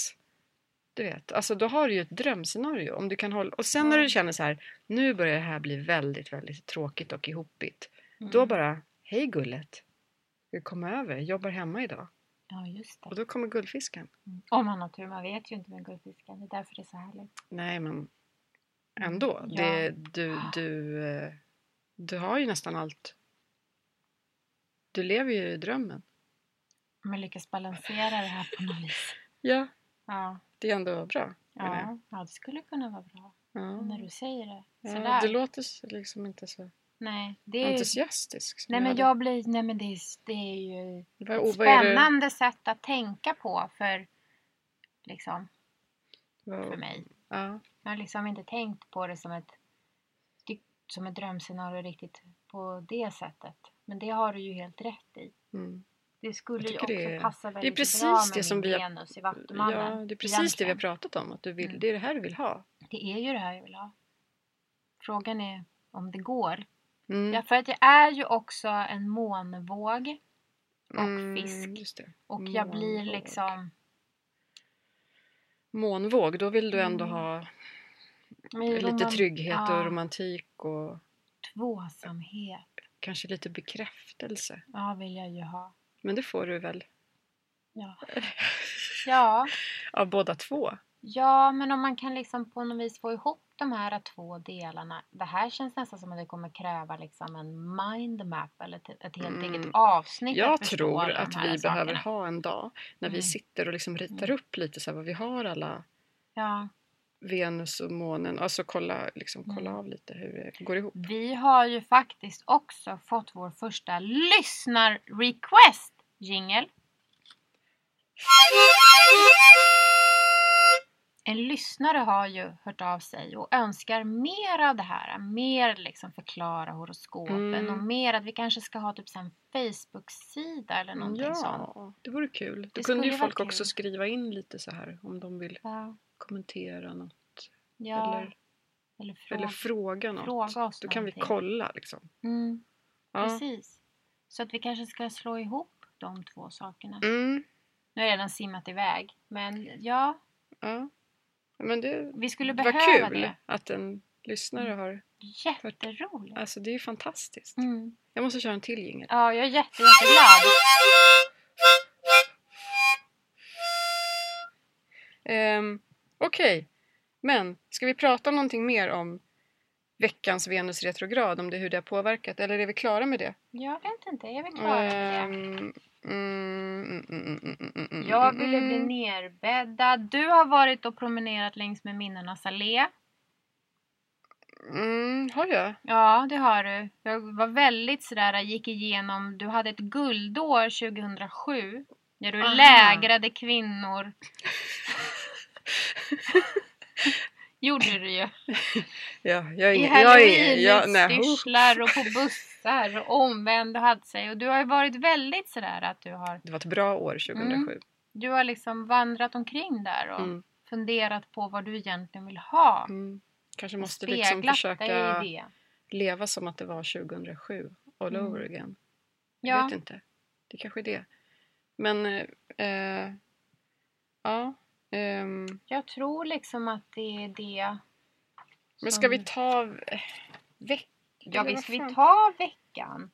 Speaker 2: Du vet, alltså då har du ju ett drömscenario. Om du kan hålla... Och sen när du
Speaker 1: Mm.
Speaker 2: känner så här, nu börjar det här bli väldigt, väldigt tråkigt och ihopigt.
Speaker 1: Mm.
Speaker 2: Då bara, hej gullet. Ska du komma över? Jag jobbar hemma idag.
Speaker 1: Ja, just det.
Speaker 2: Och då kommer guldfisken.
Speaker 1: Mm. Om man har tur, man vet ju inte med guldfisken. Det är därför det är så härligt.
Speaker 2: Nej, men ändå.
Speaker 1: Ja.
Speaker 2: Det, du, du, eh, du har ju nästan allt. Du lever ju i drömmen.
Speaker 1: Man lyckas balansera det här på något vis.
Speaker 2: Ja,
Speaker 1: Ja,
Speaker 2: det är ändå bra. menar jag.
Speaker 1: ja. ja det skulle kunna vara bra. När
Speaker 2: Ja.
Speaker 1: du säger det.
Speaker 2: Mm. Ja,
Speaker 1: Sådär.
Speaker 2: du låter så- liksom inte så
Speaker 1: Nej, det är ju...
Speaker 2: entusiastisk. som
Speaker 1: Nej men
Speaker 2: hade.
Speaker 1: jag blir... Nej men det är, det är ju
Speaker 2: Vad-
Speaker 1: ett
Speaker 2: och vad är det-
Speaker 1: spännande sätt att tänka på för... Liksom,
Speaker 2: vad-
Speaker 1: för mig.
Speaker 2: Ja.
Speaker 1: Jag har liksom inte tänkt på det som ett... Som ett drömscenario riktigt på det sättet. Men det har du ju helt rätt i.
Speaker 2: Mm.
Speaker 1: Det skulle ju
Speaker 2: tycker
Speaker 1: också
Speaker 2: det är-
Speaker 1: passa väldigt
Speaker 2: precis
Speaker 1: bra med
Speaker 2: det som
Speaker 1: min
Speaker 2: vi har-
Speaker 1: Venus i Vattumannen.
Speaker 2: ja, det är precis det vi har
Speaker 1: egentligen.
Speaker 2: pratat om. Att du vill,
Speaker 1: Mm.
Speaker 2: Det är det här du vill ha.
Speaker 1: Det är ju det här jag vill ha. Frågan är om det går.
Speaker 2: Mm.
Speaker 1: Ja, för att jag är ju också en månvåg och
Speaker 2: Mm,
Speaker 1: fisk.
Speaker 2: Just det.
Speaker 1: och jag blir
Speaker 2: Månvåg.
Speaker 1: liksom...
Speaker 2: Månvåg, då vill du ändå
Speaker 1: Mm.
Speaker 2: ha
Speaker 1: men
Speaker 2: lite
Speaker 1: roman-
Speaker 2: trygghet och
Speaker 1: ja.
Speaker 2: romantik och
Speaker 1: Tvåsamhet
Speaker 2: kanske lite bekräftelse.
Speaker 1: ja, vill jag ju ha.
Speaker 2: Men det får du väl?
Speaker 1: Ja. Ja.
Speaker 2: av båda två.
Speaker 1: ja, men om man kan liksom på något vis få ihop de här två delarna. Det här känns nästan som att det kommer kräva liksom en mindmap eller ett- ett helt
Speaker 2: Mm.
Speaker 1: eget avsnitt
Speaker 2: Jag
Speaker 1: att förstå
Speaker 2: tror
Speaker 1: de
Speaker 2: att
Speaker 1: här
Speaker 2: vi
Speaker 1: sakerna.
Speaker 2: behöver ha en dag när vi
Speaker 1: Mm.
Speaker 2: sitter och liksom ritar upp lite så här vad vi har alla
Speaker 1: Ja.
Speaker 2: Venus och månen, alltså kolla, liksom, kolla
Speaker 1: Mm.
Speaker 2: av lite hur det går ihop.
Speaker 1: Vi har ju faktiskt också fått vår första lyssnar-request jingel. En lyssnare har ju hört av sig och önskar mer av det här. Mer liksom förklara horoskopen
Speaker 2: Mm.
Speaker 1: och mer att vi kanske ska ha typ så här en Facebook-sida eller någonting sånt.
Speaker 2: Ja, det vore kul. Då
Speaker 1: Det
Speaker 2: kunde ju
Speaker 1: skulle vara
Speaker 2: folk också
Speaker 1: kul.
Speaker 2: skriva in lite så här om de vill
Speaker 1: Ja,
Speaker 2: kommentera något
Speaker 1: ja.
Speaker 2: eller,
Speaker 1: Eller, fråga.
Speaker 2: eller fråga något.
Speaker 1: fråga oss
Speaker 2: Då kan vi
Speaker 1: någonting.
Speaker 2: kolla liksom.
Speaker 1: Mm,
Speaker 2: Ja.
Speaker 1: Precis. Så att vi kanske ska slå ihop de två sakerna.
Speaker 2: Mm,
Speaker 1: Nu har jag redan simmat iväg. Men ja,
Speaker 2: ja. Men det
Speaker 1: vi skulle
Speaker 2: var
Speaker 1: behöva
Speaker 2: kul
Speaker 1: det.
Speaker 2: att en lyssnare har...
Speaker 1: Jätteroligt.
Speaker 2: Alltså det är ju fantastiskt.
Speaker 1: Mm.
Speaker 2: Jag måste köra en till jingel.
Speaker 1: Ja, jag är jätte, jätteglad.
Speaker 2: Ehm, Okej, men ska vi prata om någonting mer om veckans Venus retrograd, om det, hur det har påverkat, eller är vi klara med det?
Speaker 1: Jag vet inte, är vi klara med det?
Speaker 2: Ehm, mm, mm, mm, mm, mm, mm, mm,
Speaker 1: Jag ville bli
Speaker 2: mm.
Speaker 1: nerbäddad. Du har varit och promenerat längs med minnenas allé.
Speaker 2: Mm, har jag?
Speaker 1: Ja, det har du. Jag var väldigt sådär, jag gick igenom, du hade ett guldår 2007. När du
Speaker 2: Aha.
Speaker 1: lägrade kvinnor. Gjorde du ju.
Speaker 2: Ja, jag är
Speaker 1: I
Speaker 2: ingen... Jag är, jag, nej, oh.
Speaker 1: halloweenutstyrslar och på bussar och omvänd och hade sig. Och du har ju varit väldigt sådär att du har,
Speaker 2: Det var ett bra
Speaker 1: Mm.
Speaker 2: år Mm, 2007.
Speaker 1: du har liksom vandrat omkring där och
Speaker 2: Mm.
Speaker 1: funderat på vad du egentligen vill ha.
Speaker 2: Mm. Kanske
Speaker 1: Och
Speaker 2: måste liksom försöka
Speaker 1: dig i det.
Speaker 2: leva som att det var 2007 all
Speaker 1: Mm.
Speaker 2: over again. Jag
Speaker 1: Ja,
Speaker 2: vet inte. Det kanske är det. Men eh, eh, ja. ehm,
Speaker 1: jag tror liksom att det är det. som-
Speaker 2: men ska vi ta eh, veck?
Speaker 1: Ja,
Speaker 2: eller
Speaker 1: visst,
Speaker 2: vad fan?
Speaker 1: vi tar veckan.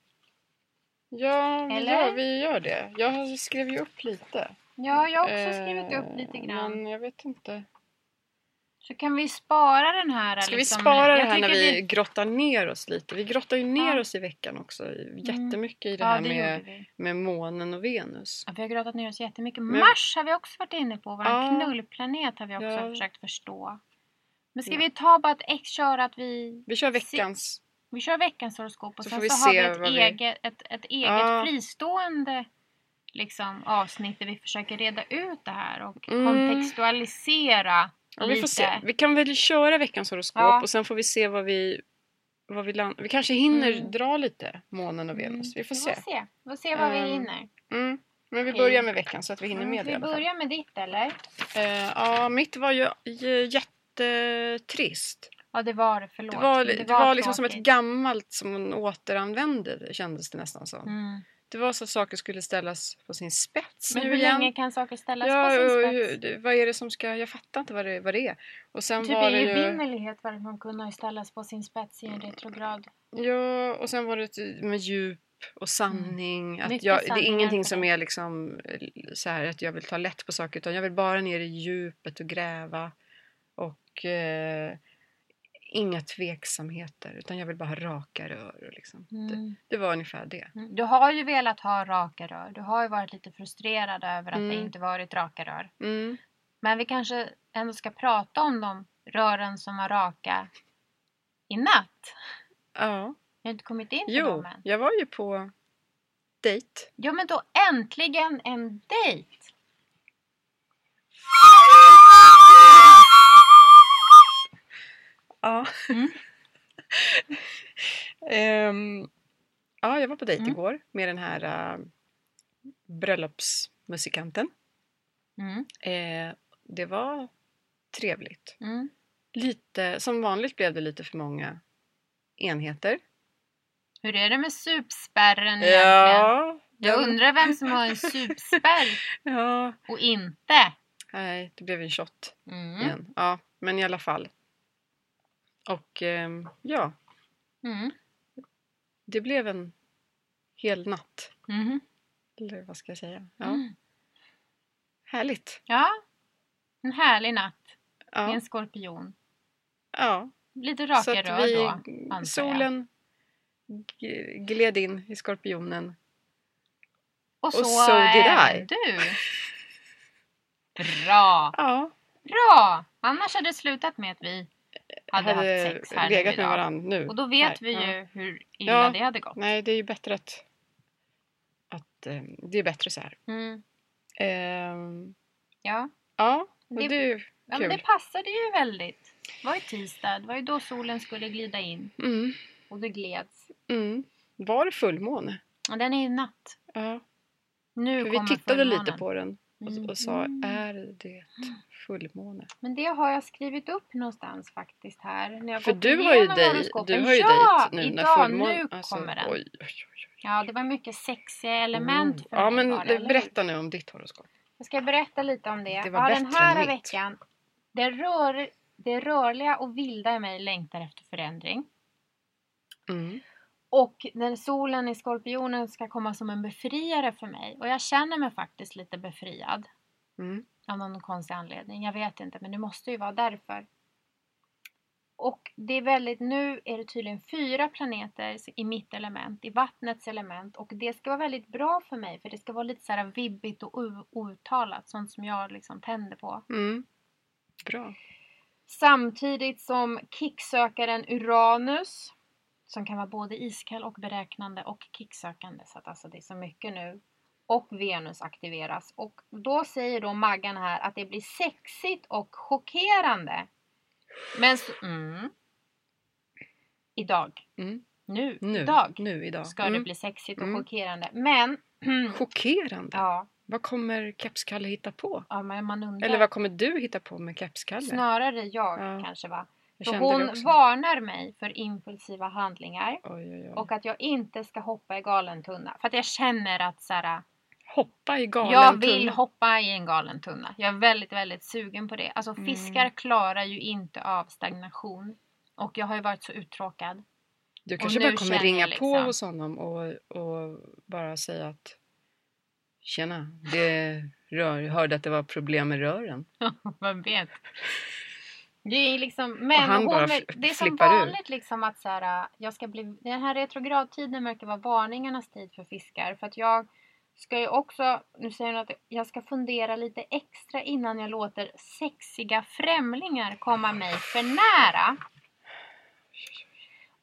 Speaker 2: Ja, vi
Speaker 1: eller?
Speaker 2: gör, vi gör det. Jag skrev ju upp lite.
Speaker 1: Ja, jag har också skrivit
Speaker 2: Eh,
Speaker 1: upp lite grann.
Speaker 2: Men jag vet inte.
Speaker 1: Så kan vi spara den här.
Speaker 2: Ska vi
Speaker 1: liksom,
Speaker 2: spara
Speaker 1: jag
Speaker 2: det här när
Speaker 1: tycker
Speaker 2: vi grottar ner oss lite? Vi grottar ju ner
Speaker 1: Ja. Mm.
Speaker 2: oss i veckan också. Jättemycket i det
Speaker 1: Ja,
Speaker 2: här
Speaker 1: det gjorde
Speaker 2: med,
Speaker 1: vi.
Speaker 2: med månen och Venus.
Speaker 1: Ja, vi har grottat ner oss jättemycket.
Speaker 2: Men-
Speaker 1: Mars har vi också varit inne på. Vår
Speaker 2: Ja.
Speaker 1: knullplanet har vi också
Speaker 2: Ja.
Speaker 1: försökt förstå. Men ska
Speaker 2: Ja.
Speaker 1: vi ta bara ett ex, köra att vi,
Speaker 2: Vi kör veckans.
Speaker 1: vi kör veckans horoskop och
Speaker 2: Så
Speaker 1: sen
Speaker 2: får vi
Speaker 1: så har vi
Speaker 2: se
Speaker 1: ett
Speaker 2: vad vi-
Speaker 1: eget, ett, ett eget
Speaker 2: Ja.
Speaker 1: fristående liksom, avsnitt där vi försöker reda ut det här och
Speaker 2: Mm.
Speaker 1: kontextualisera
Speaker 2: Ja, vi, får se.
Speaker 1: lite.
Speaker 2: vi kan väl köra veckans horoskop
Speaker 1: Ja.
Speaker 2: och sen får vi se vad vi, vad vi landar. Vi kanske hinner
Speaker 1: Mm.
Speaker 2: dra lite månen och Venus. Vi får
Speaker 1: Vi
Speaker 2: se.
Speaker 1: får se, vi får se vad vi
Speaker 2: Ehm,
Speaker 1: hinner.
Speaker 2: Mm. Men vi
Speaker 1: Okej.
Speaker 2: börjar med veckan så att vi hinner med det i
Speaker 1: vi
Speaker 2: alla fall.
Speaker 1: börjar med ditt eller?
Speaker 2: Eh, ja, mitt var ju j- jättetrist.
Speaker 1: Ja det var det, förlåt.
Speaker 2: Det var, det var, liksom som ett
Speaker 1: tråkigt.
Speaker 2: gammalt som hon återanvände kändes det nästan som.
Speaker 1: Mm.
Speaker 2: Det var så att saker skulle ställas på sin spets
Speaker 1: Men
Speaker 2: nu
Speaker 1: hur
Speaker 2: igen.
Speaker 1: länge kan saker ställas
Speaker 2: ja,
Speaker 1: på sin
Speaker 2: och
Speaker 1: spets?
Speaker 2: hur- det- vad är det som ska... Jag fattar inte vad det, vad det är. Och sen
Speaker 1: Typ
Speaker 2: var
Speaker 1: i
Speaker 2: det Mm. ju...
Speaker 1: evinnerlighet verkar man kunna ställas på sin spets i en retrograd.
Speaker 2: Ja, och sen var det ett- med djup och sanning. Att
Speaker 1: Mm. Mycket
Speaker 2: jag, det är
Speaker 1: sanningar
Speaker 2: ingenting
Speaker 1: för
Speaker 2: som
Speaker 1: dig.
Speaker 2: är liksom eh, så här att jag vill ta lätt på saker utan jag vill bara ner i djupet och gräva och eh, inga tveksamheter utan jag vill bara ha raka rör. Och liksom. det,
Speaker 1: Mm.
Speaker 2: det var ungefär det.
Speaker 1: Du har ju velat ha raka rör. Du har ju varit lite frustrerad över att det
Speaker 2: Mm.
Speaker 1: inte varit raka rör.
Speaker 2: Mm.
Speaker 1: Men vi kanske ändå ska prata om de rören som var raka i natt.
Speaker 2: Ja,
Speaker 1: Jag har inte kommit in på
Speaker 2: jo,
Speaker 1: dem än.
Speaker 2: jag var ju på dejt.
Speaker 1: Ja men då äntligen en dejt!
Speaker 2: Ja.
Speaker 1: Mm.
Speaker 2: Ehm, ja, jag var på dejt
Speaker 1: Mm.
Speaker 2: igår med den här eh, bröllopsmusikanten.
Speaker 1: Mm,
Speaker 2: Eh, det var trevligt.
Speaker 1: mm.
Speaker 2: Lite, som vanligt blev det lite för många
Speaker 1: Mm,
Speaker 2: enheter.
Speaker 1: Hur är det med supspärren egentligen?
Speaker 2: Ja,
Speaker 1: Jag
Speaker 2: den-
Speaker 1: undrar vem som har en supspärr
Speaker 2: ja.
Speaker 1: och inte.
Speaker 2: Nej, det blev en shot
Speaker 1: Mm.
Speaker 2: igen. Ja, men i alla fall. Och ehm, ja,
Speaker 1: Mm.
Speaker 2: det blev en hel natt.
Speaker 1: Mm.
Speaker 2: Eller vad ska jag säga? Ja.
Speaker 1: Mm.
Speaker 2: Härligt.
Speaker 1: Ja, en härlig natt i
Speaker 2: Ja.
Speaker 1: en skorpion.
Speaker 2: ja.
Speaker 1: Lite raka rör
Speaker 2: vi,
Speaker 1: då, antar jag.
Speaker 2: solen g- gled in i skorpionen.
Speaker 1: Och så,
Speaker 2: so did
Speaker 1: är
Speaker 2: I.
Speaker 1: du. Bra!
Speaker 2: Ja,
Speaker 1: Bra! Annars hade det slutat med att vi hade, haft sex här nu
Speaker 2: legat med
Speaker 1: idag.
Speaker 2: varandra nu.
Speaker 1: Och då vet
Speaker 2: Nej,
Speaker 1: vi
Speaker 2: ja.
Speaker 1: ju hur illa
Speaker 2: Ja.
Speaker 1: det hade gått.
Speaker 2: Nej, det är ju bättre att... att eh, det är bättre så här.
Speaker 1: Mm.
Speaker 2: Ehm,
Speaker 1: Ja.
Speaker 2: ja, och
Speaker 1: Det-
Speaker 2: du...
Speaker 1: ja men
Speaker 2: Kul.
Speaker 1: det passade ju väldigt. Det var ju tisdag, det var ju då solen skulle glida in
Speaker 2: Mm,
Speaker 1: och det gleds.
Speaker 2: mm. Var det fullmåne?
Speaker 1: Och den är ju natt.
Speaker 2: Ja,
Speaker 1: Nu
Speaker 2: för vi
Speaker 1: kommer
Speaker 2: tittade lite
Speaker 1: fullmånen.
Speaker 2: på den och, och sa, "Äh,
Speaker 1: Mhm.
Speaker 2: är det fullmåne?
Speaker 1: Men det har jag skrivit upp någonstans faktiskt här. När jag
Speaker 2: För
Speaker 1: gått
Speaker 2: du har ju
Speaker 1: igenom
Speaker 2: dig,
Speaker 1: horoskopen.
Speaker 2: du har ju
Speaker 1: ja,
Speaker 2: dig nu när
Speaker 1: idag,
Speaker 2: fullmåne...
Speaker 1: nu
Speaker 2: alltså,
Speaker 1: kommer den.
Speaker 2: Oj, oj, oj.
Speaker 1: Ja, det var mycket sexiga element
Speaker 2: Oh.
Speaker 1: för
Speaker 2: Ja,
Speaker 1: mig
Speaker 2: men
Speaker 1: var det, eller hur?
Speaker 2: berätta nu om ditt horoskop.
Speaker 1: Jag ska berätta lite om det.
Speaker 2: Det var
Speaker 1: ja,
Speaker 2: bättre
Speaker 1: den här
Speaker 2: än mitt.
Speaker 1: veckan. Det, rör, det rörliga och vilda i mig längtar efter förändring.
Speaker 2: Mm.
Speaker 1: Och när solen i skorpionen ska komma som en befriare för mig. Och jag känner mig faktiskt lite befriad.
Speaker 2: Mm.
Speaker 1: Av någon konstig anledning. Jag vet inte, men det måste ju vara därför. Och det är väldigt, nu är det tydligen fyra planeter i mitt element, i vattnets element. Och det ska vara väldigt bra för mig för det ska vara lite så här vibbigt och o- outtalat. Sånt som jag liksom tänder på.
Speaker 2: Mm. Bra.
Speaker 1: Samtidigt som kicksökaren Uranus, som kan vara både iskall och beräknande och kicksökande, så att alltså det är så mycket nu, och Venus aktiveras. Och då säger då Maggan här att det blir sexigt och chockerande. Men så, mm, idag,
Speaker 2: Mm.
Speaker 1: nu,
Speaker 2: Nu,
Speaker 1: idag,
Speaker 2: nu idag.
Speaker 1: ska det
Speaker 2: Mm.
Speaker 1: bli sexigt och
Speaker 2: Mm.
Speaker 1: chockerande. Men,
Speaker 2: Chockerande.
Speaker 1: ja,
Speaker 2: Vad kommer Kepskalle hitta på?
Speaker 1: ja men man undrar.
Speaker 2: Eller vad kommer du hitta på med Kepskalle?
Speaker 1: Snarare jag
Speaker 2: Ja.
Speaker 1: kanske va.
Speaker 2: Jag
Speaker 1: För
Speaker 2: kände
Speaker 1: hon
Speaker 2: det också.
Speaker 1: varnar mig för impulsiva handlingar
Speaker 2: Oj, oj, oj.
Speaker 1: och att jag inte ska hoppa i galen tunna. För att jag känner att så här,
Speaker 2: Hoppa i galen
Speaker 1: jag vill
Speaker 2: tunna.
Speaker 1: hoppa i en galen tunna. Jag är väldigt, väldigt sugen på det. Alltså
Speaker 2: Mm.
Speaker 1: fiskar klarar ju inte av stagnation. Och jag har ju varit så uttråkad.
Speaker 2: Du kanske
Speaker 1: nu
Speaker 2: bara kommer
Speaker 1: känner
Speaker 2: ringa
Speaker 1: jag
Speaker 2: på
Speaker 1: liksom-
Speaker 2: hos honom och, och bara säga att Tjena, det rör, jag hörde att det var problem med rören.
Speaker 1: Vem vet? Det är liksom, men
Speaker 2: han
Speaker 1: hon
Speaker 2: bara
Speaker 1: är,
Speaker 2: f-
Speaker 1: det är som
Speaker 2: flippar ur.
Speaker 1: vanligt liksom att så här, jag ska bli, den här retrogradtiden verkar vara varningarnas tid för fiskar. För att jag ska ju också, nu säger hon att jag ska fundera lite extra innan jag låter sexiga främlingar komma mig för nära.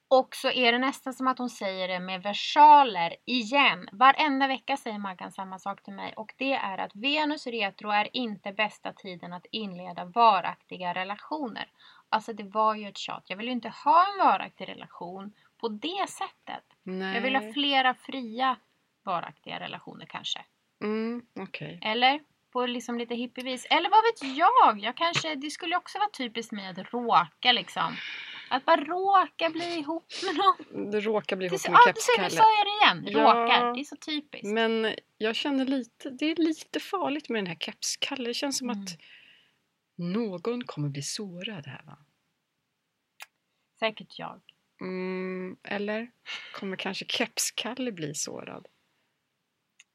Speaker 1: Och så är det nästan som att hon säger det med versaler igen. Varenda vecka säger Maggan samma sak till mig och det är att Venus retro är inte bästa tiden att inleda varaktiga relationer. Alltså det var ju ett tjat. Jag vill ju inte ha en varaktig relation på det sättet.
Speaker 2: Nej.
Speaker 1: Jag vill ha flera fria varaktiga relationer kanske.
Speaker 2: mm, Okej.
Speaker 1: Eller på liksom lite hippievis. Eller vad vet jag? jag kanske, det skulle också vara typiskt mig att råka liksom. Att bara råka bli ihop med någon.
Speaker 2: Det råkar bli
Speaker 1: Det är så,
Speaker 2: ihop med
Speaker 1: ja, du sa du
Speaker 2: Kepskalle.
Speaker 1: sa jag det igen. Råkar.
Speaker 2: Ja.
Speaker 1: Det är så typiskt.
Speaker 2: Men jag känner lite, det är lite farligt med den här kepskalle. Det känns som
Speaker 1: Mm.
Speaker 2: att någon kommer bli sårad här va?
Speaker 1: Säkert jag.
Speaker 2: Mm, eller kommer kanske kepskalle bli sårad?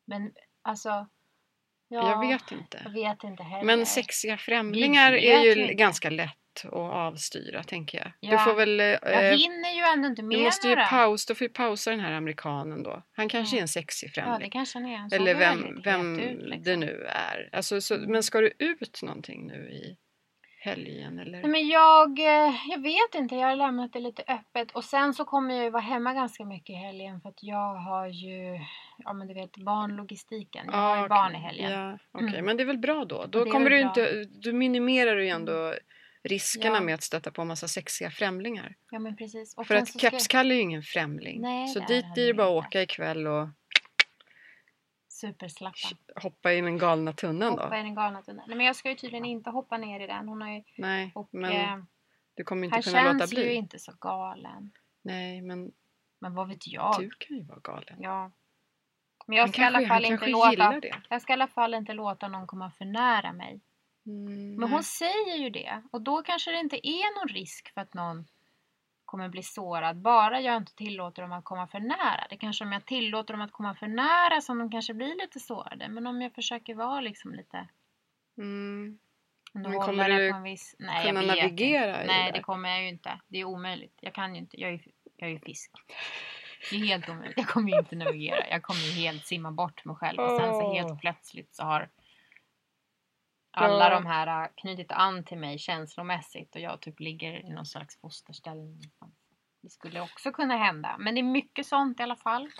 Speaker 1: Men alltså. Ja,
Speaker 2: jag vet
Speaker 1: Jag
Speaker 2: inte.
Speaker 1: vet inte heller.
Speaker 2: Men sexiga främlingar
Speaker 1: Vi
Speaker 2: är
Speaker 1: vet
Speaker 2: ju
Speaker 1: ju inte.
Speaker 2: ganska lätt att avstyra tänker jag.
Speaker 1: Ja.
Speaker 2: Du får väl...
Speaker 1: jag
Speaker 2: Eh,
Speaker 1: hinner ju ändå inte med
Speaker 2: du måste ju
Speaker 1: några.
Speaker 2: paus, då får du pausa den här amerikanen då. Han kanske
Speaker 1: Ja.
Speaker 2: är en sexig
Speaker 1: Ja, det
Speaker 2: främling.
Speaker 1: kanske han är. Han såg
Speaker 2: eller
Speaker 1: ju
Speaker 2: vem,
Speaker 1: väldigt
Speaker 2: vem
Speaker 1: het ut, liksom.
Speaker 2: det nu är. Alltså, så, men ska du ut någonting nu i helgen? Eller?
Speaker 1: Nej, men jag, eh, jag vet inte, jag har lämnat det lite öppet. Och sen så kommer jag ju vara hemma ganska mycket i helgen för att jag har ju, ja men du vet barnlogistiken. Jag har
Speaker 2: Ja,
Speaker 1: ju barn i
Speaker 2: Ah, okej.
Speaker 1: helgen.
Speaker 2: Ja, okej.
Speaker 1: Mm.
Speaker 2: Men det är väl bra då?
Speaker 1: Det
Speaker 2: Då
Speaker 1: är
Speaker 2: kommer
Speaker 1: väl
Speaker 2: du
Speaker 1: bra.
Speaker 2: inte, du minimerar ju ändå riskerna
Speaker 1: Ja.
Speaker 2: med att stöta på en massa sexiga främlingar.
Speaker 1: Ja men precis. Och
Speaker 2: För
Speaker 1: sen
Speaker 2: att
Speaker 1: så ska-
Speaker 2: Kepskalle är ju ingen främling.
Speaker 1: Nej,
Speaker 2: så
Speaker 1: det är
Speaker 2: dit
Speaker 1: han
Speaker 2: är det bara att
Speaker 1: inte.
Speaker 2: åka ikväll och
Speaker 1: Superslappa.
Speaker 2: hoppa i den galna tunnan
Speaker 1: Hoppa
Speaker 2: då.
Speaker 1: i den galna tunneln. Nej men jag ska ju tydligen inte hoppa ner i den. Hon har ju,
Speaker 2: Nej,
Speaker 1: och
Speaker 2: men
Speaker 1: eh,
Speaker 2: du kommer inte
Speaker 1: han
Speaker 2: kunna låta
Speaker 1: känns
Speaker 2: bli.
Speaker 1: ju inte så galen.
Speaker 2: Nej, men
Speaker 1: Men vad vet jag?
Speaker 2: du kan ju vara galen.
Speaker 1: Ja. Men jag
Speaker 2: Han
Speaker 1: ska i alla
Speaker 2: Typ. kanske, han
Speaker 1: fall inte
Speaker 2: kanske
Speaker 1: låta,
Speaker 2: gillar det.
Speaker 1: jag ska i alla fall inte låta någon komma för nära mig.
Speaker 2: Mm,
Speaker 1: Men
Speaker 2: nej.
Speaker 1: hon säger ju det och då kanske det inte är någon risk för att någon kommer bli sårad bara jag inte tillåter dem att komma för nära. Det kanske om jag tillåter dem att komma för nära som de kanske blir lite sårade men om jag försöker vara liksom lite
Speaker 2: Mm.
Speaker 1: Om du
Speaker 2: Men
Speaker 1: håller
Speaker 2: kommer
Speaker 1: det
Speaker 2: du
Speaker 1: på en viss... Nej,
Speaker 2: kunna
Speaker 1: jag vet
Speaker 2: navigera
Speaker 1: inte.
Speaker 2: i
Speaker 1: Nej,
Speaker 2: det?
Speaker 1: det kommer jag ju inte. Det är omöjligt. Jag kan ju inte. Jag är ju, jag är ju fisk. Det är helt omöjligt. Jag kommer ju inte navigera. Jag kommer ju helt simma bort mig själv. Och sen så
Speaker 2: Åh.
Speaker 1: helt plötsligt så har alla
Speaker 2: Ja.
Speaker 1: de här äh, knutit an till mig känslomässigt och jag typ ligger i någon slags fosterställning. någonstans. Det skulle också kunna hända. Men det är mycket sånt i alla fall.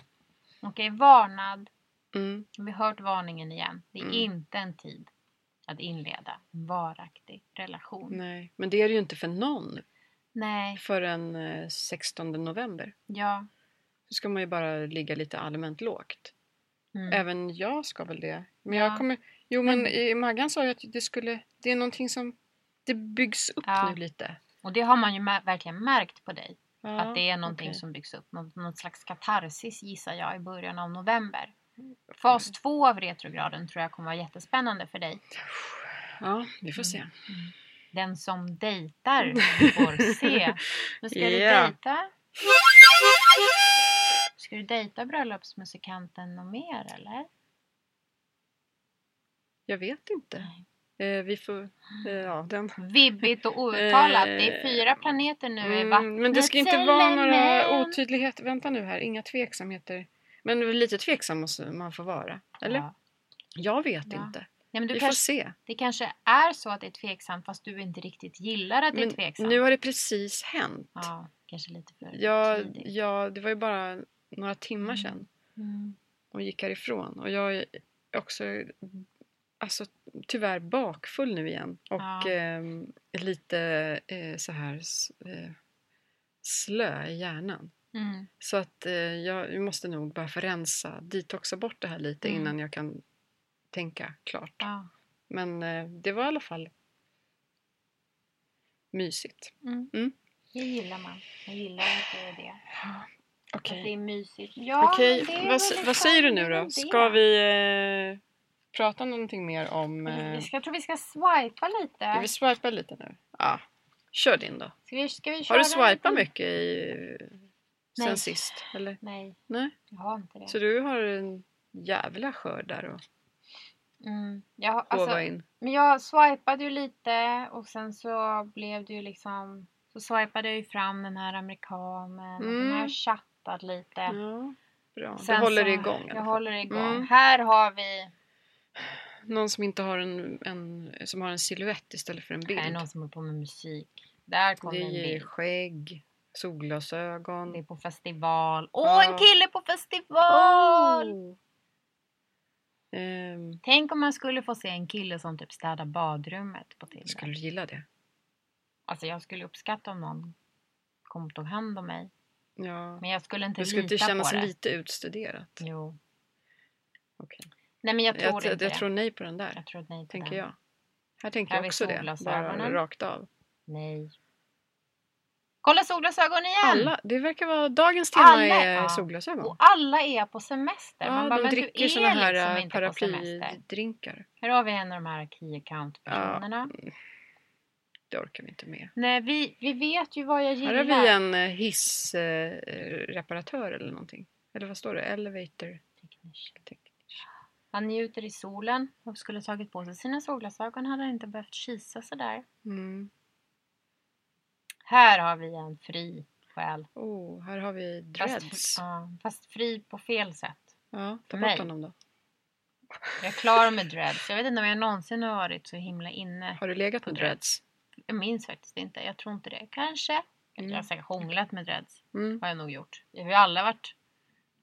Speaker 1: Och jag är varnad
Speaker 2: Mm.
Speaker 1: vi har hört varningen igen. Det är
Speaker 2: Mm.
Speaker 1: inte en tid att inleda en varaktig relation. Nej,
Speaker 2: Nej, men det är det ju inte för någon förrän eh, 16 november.
Speaker 1: ja.
Speaker 2: Då ska man ju bara ligga lite allmänt lågt.
Speaker 1: Mm.
Speaker 2: Även jag ska väl det. Men
Speaker 1: Ja.
Speaker 2: jag kommer... Jo, men
Speaker 1: Men-
Speaker 2: i Maggan sa ju att det skulle... Det är någonting som... Det byggs upp
Speaker 1: Ja.
Speaker 2: nu lite.
Speaker 1: Och det har man ju mä- verkligen märkt på dig.
Speaker 2: Ja,
Speaker 1: att det är någonting
Speaker 2: okej.
Speaker 1: som byggs upp. Någon, någon slags katarsis gissar jag i början av
Speaker 2: Mm.
Speaker 1: november. Fas två av retrograden tror jag kommer vara jättespännande för dig.
Speaker 2: Ja, vi får
Speaker 1: Mm.
Speaker 2: se.
Speaker 1: Den som dejtar får se. Nu ska
Speaker 2: Ja.
Speaker 1: du dejta. Ska du dejta bröllopsmusikanten något mer eller?
Speaker 2: Jag vet inte. Eh, vi får... Eh, ja, den...
Speaker 1: Vibbigt och outtalat. Det är
Speaker 2: Eh,
Speaker 1: fyra planeter nu i
Speaker 2: Mm,
Speaker 1: vattnet.
Speaker 2: men det ska inte vara några
Speaker 1: Elemen.
Speaker 2: otydligheter. Vänta nu här, inga tveksamheter. Men lite tveksam måste man få vara. Eller?
Speaker 1: Ja.
Speaker 2: Jag vet
Speaker 1: Ja.
Speaker 2: inte.
Speaker 1: Nej, men du
Speaker 2: vi får
Speaker 1: kanske,
Speaker 2: se.
Speaker 1: Det kanske är så att det är tveksamt fast du inte riktigt gillar att det är
Speaker 2: Men
Speaker 1: tveksamt.
Speaker 2: nu har det precis hänt.
Speaker 1: Ja, kanske lite för
Speaker 2: Jag,
Speaker 1: tidigt.
Speaker 2: jag, det var ju bara några timmar
Speaker 1: Mm.
Speaker 2: sedan
Speaker 1: Mm.
Speaker 2: och gick härifrån. Och jag är också alltså, tyvärr bakfull nu igen. Och
Speaker 1: Ja.
Speaker 2: ehm, lite eh, så här s- eh, slö i hjärnan.
Speaker 1: Mm.
Speaker 2: Så att eh, jag måste nog bara få rensa, detoxa bort det här lite
Speaker 1: Mm.
Speaker 2: innan jag kan tänka klart.
Speaker 1: Ja.
Speaker 2: Men eh, det var i alla fall mysigt.
Speaker 1: Mm.
Speaker 2: Mm.
Speaker 1: Det gillar man. Jag gillar att det är det.
Speaker 2: Okej,
Speaker 1: Att det är mysigt. Ja,
Speaker 2: Okej,
Speaker 1: men det är
Speaker 2: vad,
Speaker 1: väl
Speaker 2: vad säger du nu
Speaker 1: det är väl
Speaker 2: då?
Speaker 1: det.
Speaker 2: Ska vi eh, prata någonting mer om... Eh,
Speaker 1: Vi ska- Jag tror vi ska swipa lite.
Speaker 2: ska vi swipa lite nu? Ja, kör din då.
Speaker 1: Ska vi, ska vi
Speaker 2: Har du
Speaker 1: köra en
Speaker 2: swipat
Speaker 1: liten-
Speaker 2: mycket i,
Speaker 1: Nej.
Speaker 2: sen sist? Eller?
Speaker 1: Nej,
Speaker 2: Nej?
Speaker 1: jag har inte det.
Speaker 2: Så du har en jävla skörd där att
Speaker 1: Mm. Jag, har-
Speaker 2: håva
Speaker 1: alltså,
Speaker 2: in?
Speaker 1: Men jag swipade ju lite och sen så blev det ju liksom så swipade jag ju fram den här amerikanen och sen
Speaker 2: Mm.
Speaker 1: har jag chattat lite.
Speaker 2: Ja, bra.
Speaker 1: Sen
Speaker 2: du håller
Speaker 1: så,
Speaker 2: det igång? i
Speaker 1: Jag
Speaker 2: alla fall.
Speaker 1: håller det igång.
Speaker 2: Mm.
Speaker 1: Här har vi
Speaker 2: Någon som inte har en, en, som har en silhuett istället för en bild.
Speaker 1: här är någon som håller på med musik. Där
Speaker 2: det
Speaker 1: kommer en
Speaker 2: är
Speaker 1: bild.
Speaker 2: skägg, solglasögon.
Speaker 1: Det är på festival. Åh, en
Speaker 2: Ja. Oh.
Speaker 1: kille på festival!
Speaker 2: Ehm,
Speaker 1: Tänk om man skulle få se en kille som typ städar badrummet på Tinder.
Speaker 2: skulle du gilla det?
Speaker 1: Alltså jag skulle uppskatta om någon kom och tog hand om mig.
Speaker 2: Ja.
Speaker 1: Men jag skulle inte
Speaker 2: Det skulle
Speaker 1: lita
Speaker 2: inte kännas
Speaker 1: på det.
Speaker 2: lite utstuderat.
Speaker 1: Jo.
Speaker 2: Okej.
Speaker 1: Nej men jag tror
Speaker 2: Jag,
Speaker 1: inte
Speaker 2: jag,
Speaker 1: det.
Speaker 2: jag tror nej på den där,
Speaker 1: Jag tror nej till
Speaker 2: tänker
Speaker 1: den.
Speaker 2: jag. Här tänker
Speaker 1: Här
Speaker 2: jag
Speaker 1: har vi
Speaker 2: också det, bara
Speaker 1: solglasögonen.
Speaker 2: rakt av.
Speaker 1: Nej. Kolla solglasögon igen!
Speaker 2: Alla, det verkar vara dagens tema
Speaker 1: Alla-
Speaker 2: är
Speaker 1: ja.
Speaker 2: solglasögon.
Speaker 1: Och alla är på semester.
Speaker 2: Ja,
Speaker 1: Man bara,
Speaker 2: de
Speaker 1: men du
Speaker 2: dricker
Speaker 1: är
Speaker 2: såna här
Speaker 1: liksom
Speaker 2: eh,
Speaker 1: inte på semester.
Speaker 2: paraplydrinkar.
Speaker 1: Här har vi en av de här key account personerna.
Speaker 2: Det orkar vi inte med.
Speaker 1: Nej, vi, vi vet ju vad jag
Speaker 2: Här
Speaker 1: gillar.
Speaker 2: har vi en eh, hissreparatör eller någonting. Eller vad står det? Elevator. tech-
Speaker 1: Han njuter i solen och skulle ha tagit på sig sina solglasögon hade han inte behövt kisa sådär.
Speaker 2: Mm.
Speaker 1: Här har vi en fri själ.
Speaker 2: Oh, här har vi
Speaker 1: Fast,
Speaker 2: dreads.
Speaker 1: ja, fast fri på fel sätt.
Speaker 2: Ja, ta
Speaker 1: Nej.
Speaker 2: bort honom då.
Speaker 1: Jag är klar med dreads. Jag vet inte om jag någonsin har varit så himla inne.
Speaker 2: Har du legat
Speaker 1: På
Speaker 2: med
Speaker 1: dreads.
Speaker 2: dreads?
Speaker 1: Jag minns faktiskt inte. Jag tror inte det. Kanske. Jag har
Speaker 2: Mm.
Speaker 1: säkert hånglat med dreads.
Speaker 2: Mm.
Speaker 1: Har jag nog gjort. Vi har alla varit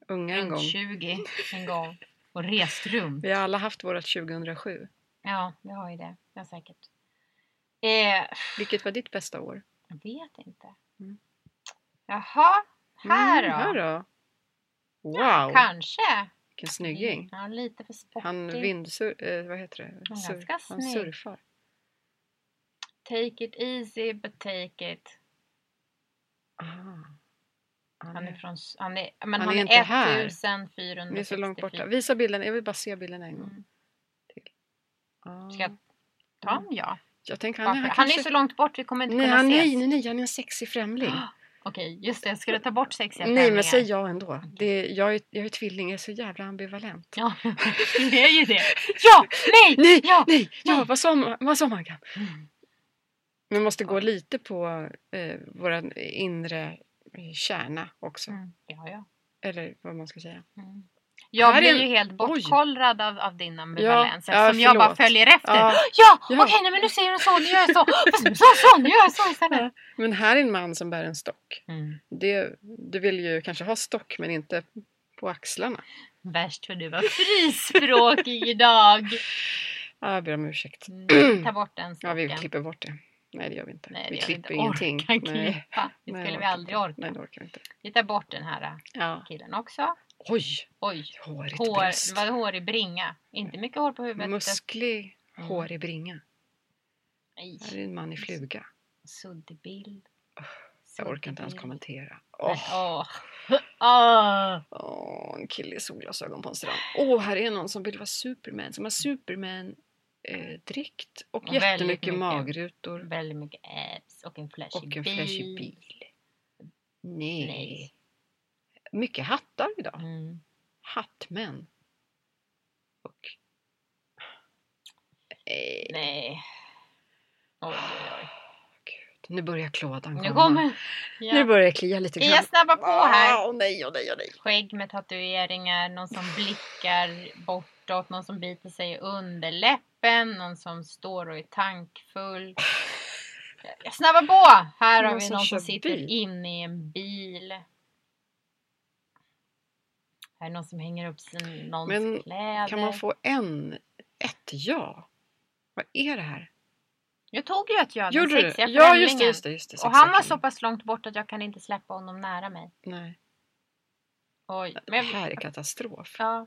Speaker 2: Unga en gång.
Speaker 1: runt 20 en gång. Och rest runt.
Speaker 2: Vi har alla haft vårat 2007.
Speaker 1: Ja, vi har ju det. Ja, säkert. Eh,
Speaker 2: Vilket var ditt bästa år?
Speaker 1: jag vet inte.
Speaker 2: Mm.
Speaker 1: Jaha, här då?
Speaker 2: Mm, här då? Wow,
Speaker 1: Kanske.
Speaker 2: vilken snygging.
Speaker 1: Ja, lite för sportig.
Speaker 2: Han vindsur... Eh, vad heter det?
Speaker 1: Han är ganska
Speaker 2: han
Speaker 1: snygg.
Speaker 2: surfar.
Speaker 1: Take it easy but take it.
Speaker 2: Ah.
Speaker 1: Han är, från, s- han är, men
Speaker 2: Han är
Speaker 1: han är,
Speaker 2: inte här.
Speaker 1: 1464.
Speaker 2: Ni är så långt borta. Visa bilden. Jag vill bara se bilden en gång.
Speaker 1: Mm.
Speaker 2: Ah.
Speaker 1: Ska jag ta honom ja?
Speaker 2: Jag tänker,
Speaker 1: Han,
Speaker 2: Mm. han, han,
Speaker 1: han
Speaker 2: kanske...
Speaker 1: är så långt bort vi kommer inte
Speaker 2: nej,
Speaker 1: kunna
Speaker 2: han,
Speaker 1: ses.
Speaker 2: nej, nej, nej, han är en sexig främling.
Speaker 1: Ah, Okej, just det. Ska du ta bort sexiga
Speaker 2: Nej,
Speaker 1: klänningar?
Speaker 2: men säg ja ändå. Det, jag, är, jag är tvilling, jag är så jävla ambivalent.
Speaker 1: Ja, det är ju det. Ja, nej,
Speaker 2: Nej,
Speaker 1: ja.
Speaker 2: nej,
Speaker 1: nej.
Speaker 2: ja, vad sa man, vad sa man Gam?
Speaker 1: Mm.
Speaker 2: Man måste
Speaker 1: Ah.
Speaker 2: gå lite på eh, vår inre eh, kärna också.
Speaker 1: Mm. Ja, ja.
Speaker 2: Eller vad man ska säga.
Speaker 1: Mm. Jag
Speaker 2: Här är
Speaker 1: blir
Speaker 2: en-
Speaker 1: ju helt bortkollrad av, av din ambivalens
Speaker 2: Ja,
Speaker 1: eftersom jag bara
Speaker 2: förlåt.
Speaker 1: följer efter. Ja,
Speaker 2: Ja.
Speaker 1: okej,
Speaker 2: Ja.
Speaker 1: nej, men nu säger du så, nu gör jag så, fast nu sa jag så, nu gör jag så istället.
Speaker 2: Men här är en man som bär en stock.
Speaker 1: Mm.
Speaker 2: Det, du vill ju kanske ha stock men inte på axlarna.
Speaker 1: Värst vad du var frispråkig idag.
Speaker 2: Ja, Ah, jag ber om ursäkt.
Speaker 1: Mm. Ta bort den
Speaker 2: Ja,
Speaker 1: stocken.
Speaker 2: vi klipper bort det. Nej, det gör vi inte.
Speaker 1: Nej, det
Speaker 2: vi
Speaker 1: gör
Speaker 2: klipper
Speaker 1: inte.
Speaker 2: ingenting.
Speaker 1: Orkar
Speaker 2: Nej.
Speaker 1: klippa. Det
Speaker 2: Nej,
Speaker 1: skulle vi
Speaker 2: orkar
Speaker 1: aldrig orka.
Speaker 2: Nej, det orkar vi inte.
Speaker 1: Vi tar bort den här äh,
Speaker 2: Ja.
Speaker 1: killen också.
Speaker 2: Oj,
Speaker 1: Oj,
Speaker 2: hårigt bröst.
Speaker 1: hår, vad hår i bringa. Inte mycket hår på huvudet.
Speaker 2: Musklig,
Speaker 1: Mm.
Speaker 2: hårig bringa.
Speaker 1: Nej,
Speaker 2: Här är en man i fluga.
Speaker 1: suddig bild.
Speaker 2: Jag
Speaker 1: Suddig
Speaker 2: orkar inte ens
Speaker 1: bild.
Speaker 2: kommentera.
Speaker 1: Nej,
Speaker 2: Åh,
Speaker 1: Åh. Åh.
Speaker 2: åh, en kille i solglasögon på en strand. Åh, här är någon som vill vara Superman, som har Superman-dräkt och
Speaker 1: Och väldigt
Speaker 2: jättemycket
Speaker 1: mycket.
Speaker 2: magrutor
Speaker 1: Väldigt mycket abs och en flashig
Speaker 2: och en
Speaker 1: bil.
Speaker 2: flashig bil. Nej.
Speaker 1: Nej.
Speaker 2: Mycket hattar idag.
Speaker 1: Mm.
Speaker 2: Hattmän. Och... Eh,
Speaker 1: Nej. Oj, oj, oj.
Speaker 2: gud. Nu börjar klådan komma.
Speaker 1: Nu kommer...
Speaker 2: Nu
Speaker 1: Ja.
Speaker 2: börjar det Ah! klia lite
Speaker 1: Jag snabbar på här.
Speaker 2: Åh nej, åh nej, åh nej.
Speaker 1: Skägg med tatueringar, någon som blickar bortåt, någon som biter sig i underläppen, någon som står och är tankfull. Jag snabbar på! Här har
Speaker 2: Någon
Speaker 1: vi
Speaker 2: som
Speaker 1: någon som
Speaker 2: kör
Speaker 1: sitter
Speaker 2: bil.
Speaker 1: inne i en bil. Här är någon som hänger upp sin, någons
Speaker 2: Men
Speaker 1: kläder.
Speaker 2: Kan man få en, ett ja? Vad är det här?
Speaker 1: Jag tog ju ett ja, den
Speaker 2: Gjorde du?
Speaker 1: sexiga
Speaker 2: Ja, just det,
Speaker 1: främlingen.
Speaker 2: just det. Just det
Speaker 1: Och
Speaker 2: sexiga
Speaker 1: han var så
Speaker 2: killen.
Speaker 1: pass långt bort att jag kan inte släppa honom nära mig.
Speaker 2: Nej,
Speaker 1: Oj.
Speaker 2: det
Speaker 1: Men,
Speaker 2: här är katastrof.
Speaker 1: ja,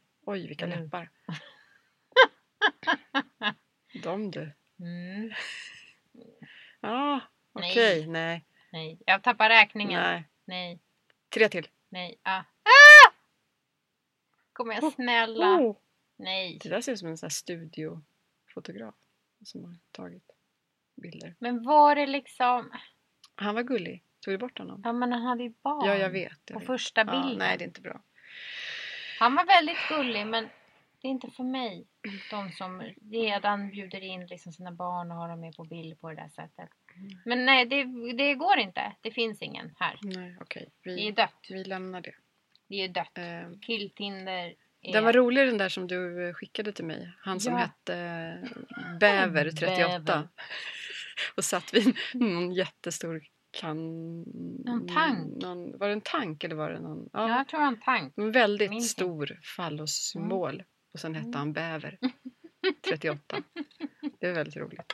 Speaker 2: Oj, vilka
Speaker 1: Mm.
Speaker 2: läppar. De du.
Speaker 1: Mm,
Speaker 2: Ja,
Speaker 1: Nej.
Speaker 2: okej. Nej.
Speaker 1: nej. Jag tappar räkningen.
Speaker 2: Nej.
Speaker 1: Nej,
Speaker 2: Tre till.
Speaker 1: nej. Ah. Ah! Kom igen, snälla.
Speaker 2: Oh.
Speaker 1: Nej.
Speaker 2: Det där ser ut som en sån här studiofotograf som har tagit bilder.
Speaker 1: Men var det liksom...
Speaker 2: Han var gullig. Tog du bort honom?
Speaker 1: Ja, men han hade ju barn.
Speaker 2: Ja, jag vet. Jag
Speaker 1: På
Speaker 2: vet.
Speaker 1: första bilden.
Speaker 2: Ja, nej, det är inte bra.
Speaker 1: Han var väldigt gullig men det är inte för mig. De som redan bjuder in liksom sina barn och har dem med på bild på det där sättet. Men nej, det, det går inte. Det finns ingen här.
Speaker 2: Nej, okej.
Speaker 1: Det är
Speaker 2: Vi,
Speaker 1: dött.
Speaker 2: vi lämnar det.
Speaker 1: Det är dött.
Speaker 2: Eh,
Speaker 1: Killtinder är...
Speaker 2: den var rolig den där som du eh, skickade till mig. Han som
Speaker 1: Ja.
Speaker 2: hette eh, Bäver 38.
Speaker 1: Bäver.
Speaker 2: Och satt vid någon jättestor kan...
Speaker 1: Någon tank.
Speaker 2: Någon, var det en tank eller var det någon?
Speaker 1: Ja, jag tror han tank.
Speaker 2: En väldigt
Speaker 1: Minns Mm. inte.
Speaker 2: stor fallossymbol. Och sen hette han Bäver. 38. Det är väldigt roligt.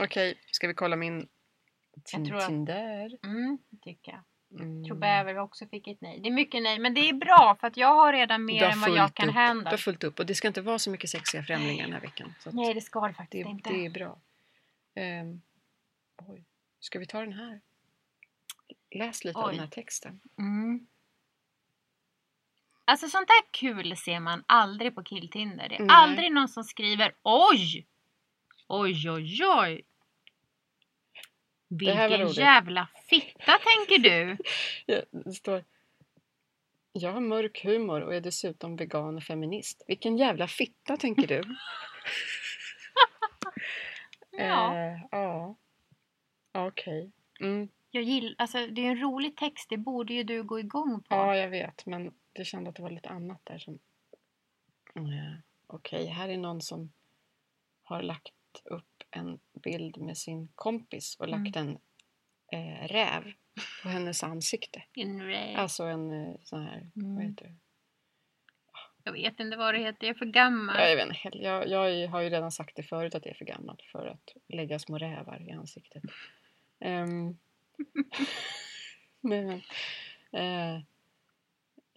Speaker 2: Okej, ska vi kolla min
Speaker 1: Jag
Speaker 2: tin-
Speaker 1: tror att-
Speaker 2: Tinder?
Speaker 1: Mm, det tycker jag.
Speaker 2: Mm.
Speaker 1: Jag tror bäver också fick ett nej. Det är mycket nej, men det är bra för att jag har redan
Speaker 2: Du
Speaker 1: mer
Speaker 2: har
Speaker 1: än vad
Speaker 2: fullt
Speaker 1: jag kan
Speaker 2: upp. Du
Speaker 1: hända.
Speaker 2: har fullt upp och det ska inte vara så mycket sexiga främlingar den här veckan. Så att
Speaker 1: Nej, det ska det
Speaker 2: det,
Speaker 1: faktiskt
Speaker 2: är-
Speaker 1: inte.
Speaker 2: det är bra. Ehm, oj. Ska vi ta den här? Läs lite av
Speaker 1: Oj.
Speaker 2: den här texten.
Speaker 1: Mm. Alltså sånt där kul ser man aldrig på killtinder. Det är
Speaker 2: Nej.
Speaker 1: aldrig någon som skriver oj! Oj, oj, oj!
Speaker 2: Det här var
Speaker 1: Vilken
Speaker 2: roligt.
Speaker 1: jävla fitta tänker du?
Speaker 2: Ja, Det står Jag har mörk humor och är dessutom vegan och feminist. Vilken jävla fitta tänker du?
Speaker 1: Ja,
Speaker 2: Eh, ja. Ja, Okej. Mm.
Speaker 1: jag gillar, alltså, det är ju en rolig text, det borde ju du gå igång på.
Speaker 2: Ja, jag vet. Men det kände att det var lite annat där som... Eh, Okej, här är någon som har lagt upp en bild med sin kompis och lagt en eh, räv på hennes ansikte.
Speaker 1: Nej,
Speaker 2: Alltså en eh, sån här... Vad
Speaker 1: mm.
Speaker 2: heter det?
Speaker 1: Jag vet inte vad det heter, jag är för gammal.
Speaker 2: Ja, jag, vet, inte. Hel- jag, jag är- har ju redan sagt det förut att jag är för gammal för att lägga små rävar i ansiktet. Ehm, Nej, men, eh,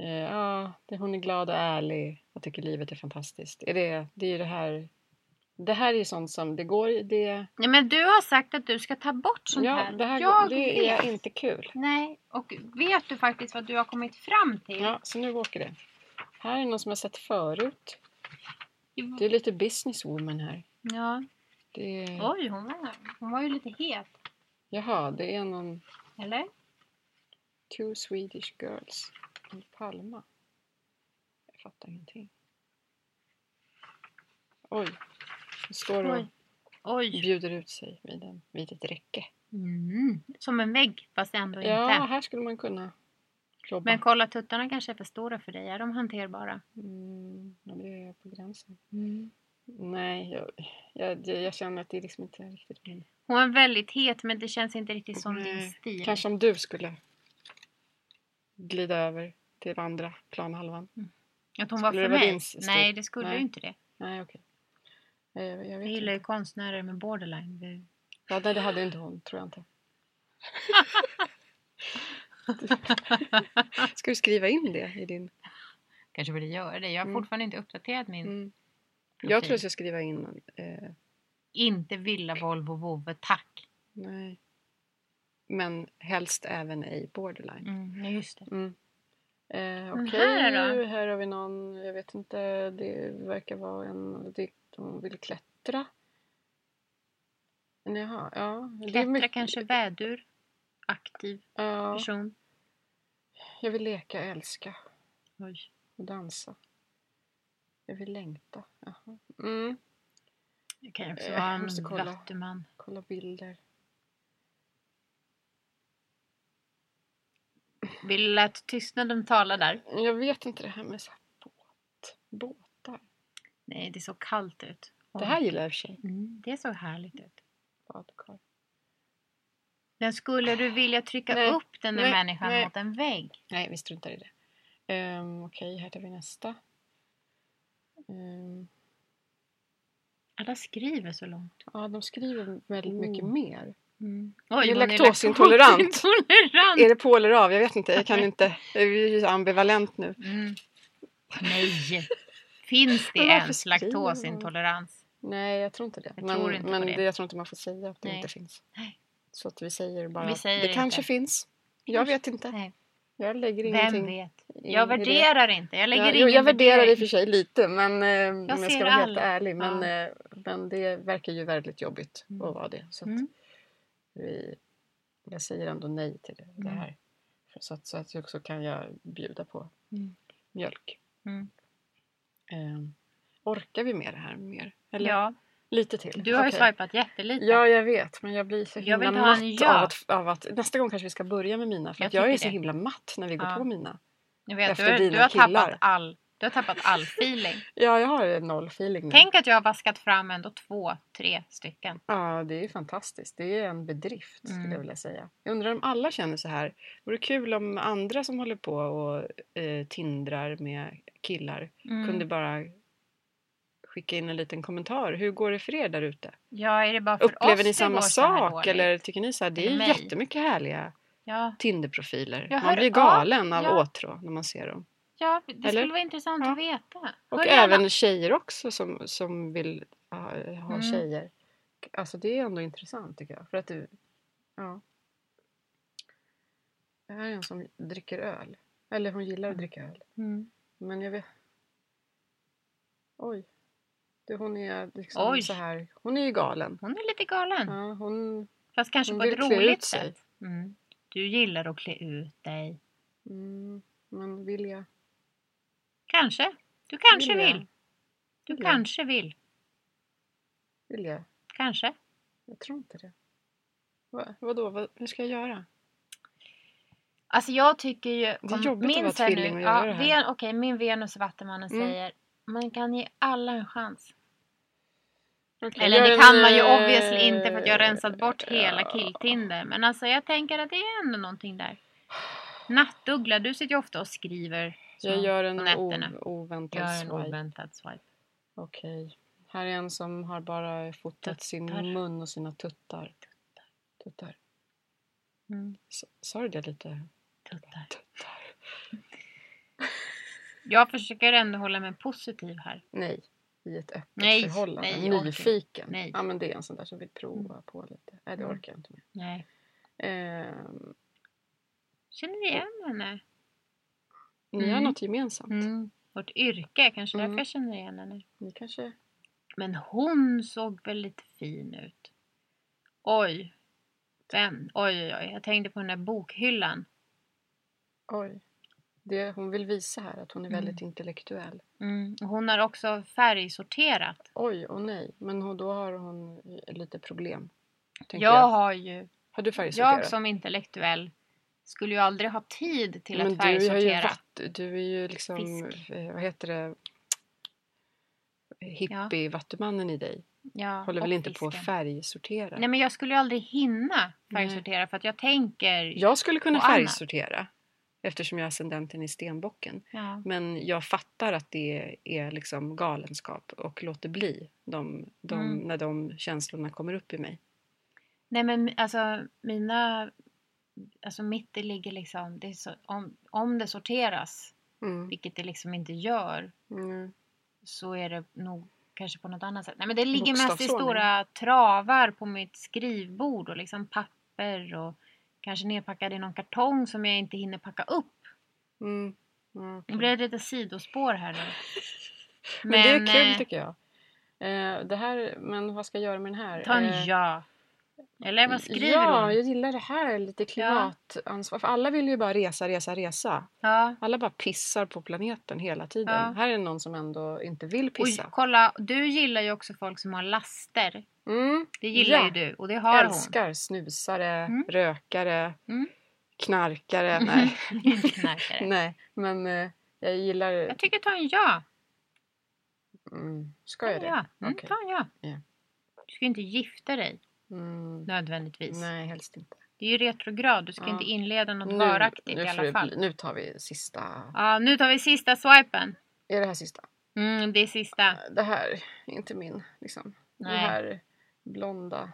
Speaker 2: eh, ja, det, hon är glad och ärlig och tycker livet är fantastiskt. Är det, det är ju det här. Det här är ju sånt som det går i det.
Speaker 1: Nej, men du har sagt att du ska ta bort sånt
Speaker 2: Ja,
Speaker 1: här.
Speaker 2: det här
Speaker 1: jag
Speaker 2: går- det
Speaker 1: vet.
Speaker 2: är inte kul.
Speaker 1: Nej, och vet du faktiskt vad du har kommit fram till?
Speaker 2: Ja, så nu åker det. Här är någon som jag sett förut. Det är lite businesswoman här.
Speaker 1: Ja.
Speaker 2: Det är,
Speaker 1: Oj, hon var, hon var ju lite het.
Speaker 2: jaha, det är någon
Speaker 1: Eller?
Speaker 2: Two Swedish Girls i Palma. Jag fattar ingenting. Oj, nu står och
Speaker 1: Oj. Oj.
Speaker 2: bjuder ut sig vid, en, vid ett räcke.
Speaker 1: Mm. Som en vägg, fast ändå
Speaker 2: Ja,
Speaker 1: inte.
Speaker 2: här skulle man kunna jobba.
Speaker 1: Men kolla, tuttarna kanske är för stora för dig. Är de hanterbara?
Speaker 2: Mm, ja, det är på gränsen. Mm. Nej, jag, jag, jag, jag känner att det är liksom inte riktigt min...
Speaker 1: Hon är väldigt het, men det känns inte riktigt som din
Speaker 2: Nej,
Speaker 1: stil.
Speaker 2: Mm. Kanske om du skulle glida över till andra planhalvan.
Speaker 1: Att hon var
Speaker 2: Skulle
Speaker 1: för
Speaker 2: det vara
Speaker 1: mig?
Speaker 2: din stil?
Speaker 1: Nej, det skulle
Speaker 2: Nej.
Speaker 1: ju inte det.
Speaker 2: Nej, okej. Eh, Jag, jag
Speaker 1: Jag
Speaker 2: vet
Speaker 1: gillar ju
Speaker 2: inte.
Speaker 1: konstnärer med borderline. Det-
Speaker 2: Ja, nej, det hade inte hon, tror jag inte. Ska du skriva in det i din...
Speaker 1: Kanske borde göra det. Jag har
Speaker 2: Mm.
Speaker 1: fortfarande inte uppdaterat min.
Speaker 2: Mm.
Speaker 1: Profil.
Speaker 2: Jag tror jag ska skriva in... Eh,
Speaker 1: Inte Villa Volvo Vove, tack.
Speaker 2: nej. Men helst även i borderline.
Speaker 1: Mm, ja, just det.
Speaker 2: Mm. Eh,
Speaker 1: Men
Speaker 2: Okej,
Speaker 1: här då?
Speaker 2: här har vi någon, jag vet inte, det verkar vara en, det, de vill klättra. Men Jaha, ja. det är
Speaker 1: Klättra
Speaker 2: mycket-
Speaker 1: kanske, vädur. Aktiv
Speaker 2: Ja,
Speaker 1: person.
Speaker 2: jag vill leka, älska
Speaker 1: Oj.
Speaker 2: och dansa. Jag vill längta. Jaha. Mm,
Speaker 1: Det kan ju också
Speaker 2: Eh,
Speaker 1: vara en
Speaker 2: måste kolla.
Speaker 1: vattuman.
Speaker 2: kolla bilder.
Speaker 1: Vill att tystnaden tala där.
Speaker 2: Jag vet inte det här med så här båt, båtar.
Speaker 1: Nej, det såg kallt ut.
Speaker 2: Det här gillar jag i och för sig.
Speaker 1: mm, det såg härligt ut.
Speaker 2: Badkar.
Speaker 1: Men skulle du vilja trycka
Speaker 2: Nej,
Speaker 1: upp den där
Speaker 2: nej,
Speaker 1: människan
Speaker 2: nej.
Speaker 1: mot en vägg?
Speaker 2: Nej, vi struntar i det. Um, Okej, här tar vi nästa. Ehm,
Speaker 1: Alla skriver så långt.
Speaker 2: Ja, de skriver väldigt
Speaker 1: Oh.
Speaker 2: mycket mer.
Speaker 1: Mm.
Speaker 2: är
Speaker 1: hon
Speaker 2: laktosintolerant.
Speaker 1: laktosintolerant.
Speaker 2: Är det på eller av? Jag vet inte. Jag kan inte. Jag är ju ambivalent nu.
Speaker 1: Mm. Nej! Finns det
Speaker 2: Men varför
Speaker 1: ens
Speaker 2: skriver hon?
Speaker 1: laktosintolerans?
Speaker 2: Nej, jag tror inte det.
Speaker 1: Jag
Speaker 2: men
Speaker 1: tror inte på
Speaker 2: men
Speaker 1: det.
Speaker 2: jag tror inte man får säga att det
Speaker 1: Nej.
Speaker 2: inte finns.
Speaker 1: Nej.
Speaker 2: Så att vi säger bara
Speaker 1: Vi
Speaker 2: att
Speaker 1: säger
Speaker 2: det
Speaker 1: inte.
Speaker 2: kanske finns. Jag vet inte.
Speaker 1: Nej.
Speaker 2: Jag lägger
Speaker 1: Vem
Speaker 2: ingenting.
Speaker 1: vet?
Speaker 2: in
Speaker 1: Jag
Speaker 2: i det.
Speaker 1: värderar inte. Jag lägger
Speaker 2: Ja, jo,
Speaker 1: ingen
Speaker 2: jag värderar i
Speaker 1: värdering.
Speaker 2: och för sig lite, men eh, om jag
Speaker 1: ser
Speaker 2: ska vara helt
Speaker 1: alla.
Speaker 2: ärlig. Men, eh, men det verkar ju väldigt jobbigt
Speaker 1: Mm.
Speaker 2: att vara det. Så att
Speaker 1: Mm.
Speaker 2: vi, jag säger ändå nej till det, det här. Så, att, så att jag också kan jag bjuda på
Speaker 1: Mm.
Speaker 2: mjölk.
Speaker 1: Mm.
Speaker 2: Eh, orkar vi med det här mer? Eller
Speaker 1: Ja,
Speaker 2: lite till?
Speaker 1: du har ju
Speaker 2: Okej.
Speaker 1: swipat jättelite.
Speaker 2: Ja, jag vet, men jag blir så
Speaker 1: Jag
Speaker 2: himla
Speaker 1: vill ha
Speaker 2: matt
Speaker 1: en ja.
Speaker 2: av, att, av att... Nästa gång kanske vi ska börja med mina, för
Speaker 1: Jag
Speaker 2: jag, att jag är
Speaker 1: tycker
Speaker 2: så
Speaker 1: det.
Speaker 2: himla matt när vi går
Speaker 1: Ja.
Speaker 2: på mina.
Speaker 1: Jag vet,
Speaker 2: Efter
Speaker 1: du, har- du,
Speaker 2: dina
Speaker 1: har
Speaker 2: killar.
Speaker 1: tappat all, du har tappat all feeling.
Speaker 2: Ja, jag har noll feeling nu.
Speaker 1: Tänk att jag har vaskat fram ändå två, tre stycken.
Speaker 2: Ja, det är ju fantastiskt. Det är en bedrift skulle
Speaker 1: Mm.
Speaker 2: jag vilja säga. Jag undrar om alla känner så här. Vore kul om andra som håller på och eh, tindrar med killar
Speaker 1: Mm.
Speaker 2: kunde bara skicka in en liten kommentar. Hur går det för er där ute?
Speaker 1: Ja, är det bara för
Speaker 2: Upplever
Speaker 1: oss
Speaker 2: ni
Speaker 1: det går
Speaker 2: samma
Speaker 1: så här
Speaker 2: sak
Speaker 1: dåligt?
Speaker 2: eller tycker ni så här, det
Speaker 1: Eller
Speaker 2: är
Speaker 1: mig?
Speaker 2: jättemycket härliga
Speaker 1: Ja,
Speaker 2: Tinderprofiler.
Speaker 1: Jag
Speaker 2: Man
Speaker 1: hör
Speaker 2: blir
Speaker 1: av-
Speaker 2: galen av
Speaker 1: ja.
Speaker 2: åtrå när man ser dem.
Speaker 1: ja det
Speaker 2: Eller?
Speaker 1: skulle vara intressant
Speaker 2: Ja.
Speaker 1: att veta.
Speaker 2: Och
Speaker 1: Hör gärna-
Speaker 2: även tjejer också som, som vill ha, ha
Speaker 1: Mm.
Speaker 2: tjejer. Alltså det är ändå intressant tycker jag. För att du, ja. Det här är en som dricker öl. Eller hon gillar att dricka öl.
Speaker 1: Mm.
Speaker 2: Men jag vet... Oj. Du, hon är liksom
Speaker 1: Oj. Mm.
Speaker 2: så här. Hon är ju galen.
Speaker 1: Hon är lite galen.
Speaker 2: Ja, hon...
Speaker 1: Fast kanske
Speaker 2: Hon
Speaker 1: på ett
Speaker 2: vill klä ut
Speaker 1: roligt
Speaker 2: sig.
Speaker 1: sätt. Mm. Du gillar att klä ut dig.
Speaker 2: Mm, men vill jag?
Speaker 1: Kanske. Du kanske
Speaker 2: Vill
Speaker 1: vill.
Speaker 2: jag?
Speaker 1: Du
Speaker 2: Vill jag?
Speaker 1: kanske vill.
Speaker 2: Vill jag?
Speaker 1: Kanske.
Speaker 2: Jag tror inte det. Va, vadå? Vad, hur ska jag göra?
Speaker 1: Alltså jag tycker ju...
Speaker 2: Det är jobbigt att vara
Speaker 1: så här
Speaker 2: tvilling och
Speaker 1: nu-
Speaker 2: göra
Speaker 1: ja,
Speaker 2: det här.
Speaker 1: Ven, Okej, min Venus i Vattumannen
Speaker 2: Mm.
Speaker 1: säger man kan ge alla en chans.
Speaker 2: Okej,
Speaker 1: Eller
Speaker 2: gör
Speaker 1: det
Speaker 2: en,
Speaker 1: kan man ju
Speaker 2: eh,
Speaker 1: obviously inte för att jag har rensat bort hela
Speaker 2: ja.
Speaker 1: killtinder. Men alltså jag tänker att det är ändå någonting där. Nattuggla, du sitter ju ofta och skriver.
Speaker 2: Jag
Speaker 1: så
Speaker 2: gör en
Speaker 1: på
Speaker 2: o-
Speaker 1: nätterna.
Speaker 2: oväntad
Speaker 1: Gör en
Speaker 2: swipe.
Speaker 1: oväntad swipe.
Speaker 2: Okej. Här är en som har bara fotat sin
Speaker 1: Tuttar.
Speaker 2: mun och sina tuttar. Tuttar.
Speaker 1: Mm.
Speaker 2: S- Sa du det lite?
Speaker 1: Tuttar.
Speaker 2: Tuttar.
Speaker 1: Jag försöker ändå hålla mig positiv här.
Speaker 2: Nej, i ett öppet
Speaker 1: Nej,
Speaker 2: förhållande.
Speaker 1: nej, jag orkar inte.
Speaker 2: Nyfiken.
Speaker 1: Nej.
Speaker 2: Ja, men det är en sån där som vill prova på lite. Nej, det
Speaker 1: Mm.
Speaker 2: orkar jag inte med.
Speaker 1: Nej.
Speaker 2: Ehm,
Speaker 1: Känner ni igen henne?
Speaker 2: ni har
Speaker 1: Mm.
Speaker 2: något gemensamt.
Speaker 1: Mm. Vårt yrke, kanske
Speaker 2: Mm.
Speaker 1: därför jag känner igen henne.
Speaker 2: Ni kanske...
Speaker 1: Men hon såg väldigt fin ut. Oj. Den. Oj, oj, oj. Jag tänkte på den där bokhyllan.
Speaker 2: Oj. Det hon vill visa här att hon är
Speaker 1: Mm.
Speaker 2: väldigt intellektuell.
Speaker 1: Mm. och Hon har också färgsorterat.
Speaker 2: Oj och nej, men hon, då har hon lite problem.
Speaker 1: Jag,
Speaker 2: tänker jag.
Speaker 1: har ju...
Speaker 2: Har du färgsorterat?
Speaker 1: Jag som intellektuell skulle ju aldrig ha tid till
Speaker 2: men
Speaker 1: att färgsortera.
Speaker 2: Du, har ju vatt, du är ju liksom,
Speaker 1: Fisk.
Speaker 2: eh, vad heter det, hippie-vattumannen i dig.
Speaker 1: Ja,
Speaker 2: Håller väl
Speaker 1: och
Speaker 2: inte på att
Speaker 1: fisken.
Speaker 2: färgsortera?
Speaker 1: Nej men jag skulle ju aldrig hinna
Speaker 2: Nej.
Speaker 1: färgsortera för att jag tänker...
Speaker 2: Jag skulle kunna
Speaker 1: Och Anna.
Speaker 2: färgsortera eftersom jag är ascendenten i stenbocken.
Speaker 1: Ja.
Speaker 2: Men jag fattar att det är liksom galenskap och låter bli de, de,
Speaker 1: Mm.
Speaker 2: när de känslorna kommer upp i mig.
Speaker 1: Nej men alltså mina... Alltså mitt det ligger liksom... Det är så, om, om det sorteras,
Speaker 2: Mm.
Speaker 1: vilket det liksom inte gör,
Speaker 2: Mm.
Speaker 1: så är det nog kanske på något annat sätt. Nej men det ligger mest i
Speaker 2: Bokstavsordning.
Speaker 1: stora travar på mitt skrivbord och liksom papper och kanske nerpackad i någon kartong som jag inte hinner packa upp.
Speaker 2: Mm. Ja, okej.
Speaker 1: Nu blir det lite sidospår här nu.
Speaker 2: Men, det är kul
Speaker 1: eh,
Speaker 2: tycker jag. Eh, det här, men vad ska jag göra med den här?
Speaker 1: Ta
Speaker 2: Eh,
Speaker 1: en ja. Eller Äh, vad skriver
Speaker 2: ja,
Speaker 1: hon?
Speaker 2: jag gillar det här lite klimatansvar. För alla vill ju bara resa, resa, resa.
Speaker 1: Ja.
Speaker 2: Alla bara pissar på planeten hela tiden.
Speaker 1: Ja.
Speaker 2: Här är någon som ändå inte vill
Speaker 1: Och
Speaker 2: pissa.
Speaker 1: kolla, du gillar ju också folk som har laster.
Speaker 2: Mm.
Speaker 1: Det gillar
Speaker 2: Ja.
Speaker 1: ju du och det har
Speaker 2: Älskar snusare,
Speaker 1: Mm.
Speaker 2: rökare,
Speaker 1: Mm.
Speaker 2: knarkare.
Speaker 1: hon.
Speaker 2: Nej,
Speaker 1: Knarkare.
Speaker 2: nej. men eh, jag gillar...
Speaker 1: Jag tycker ta en ja.
Speaker 2: Mm.
Speaker 1: Ta
Speaker 2: Ska jag
Speaker 1: en
Speaker 2: det?
Speaker 1: ja. Mm,
Speaker 2: Okej.
Speaker 1: ta en ja.
Speaker 2: Ja.
Speaker 1: Du ska ju inte gifta dig
Speaker 2: Mm.
Speaker 1: nödvändigtvis.
Speaker 2: Nej, helst inte.
Speaker 1: Det är ju retrograd. Du ska
Speaker 2: Ja. Mm,
Speaker 1: inte inleda något
Speaker 2: Nu-
Speaker 1: varaktigt
Speaker 2: nu
Speaker 1: i
Speaker 2: får
Speaker 1: alla
Speaker 2: det
Speaker 1: fall.
Speaker 2: bli- Nu tar vi sista.
Speaker 1: Ja, nu tar vi sista swipen.
Speaker 2: Är det här sista?
Speaker 1: Mm, det är sista.
Speaker 2: Det här är inte min. Liksom. Den
Speaker 1: Nej.
Speaker 2: här blonda.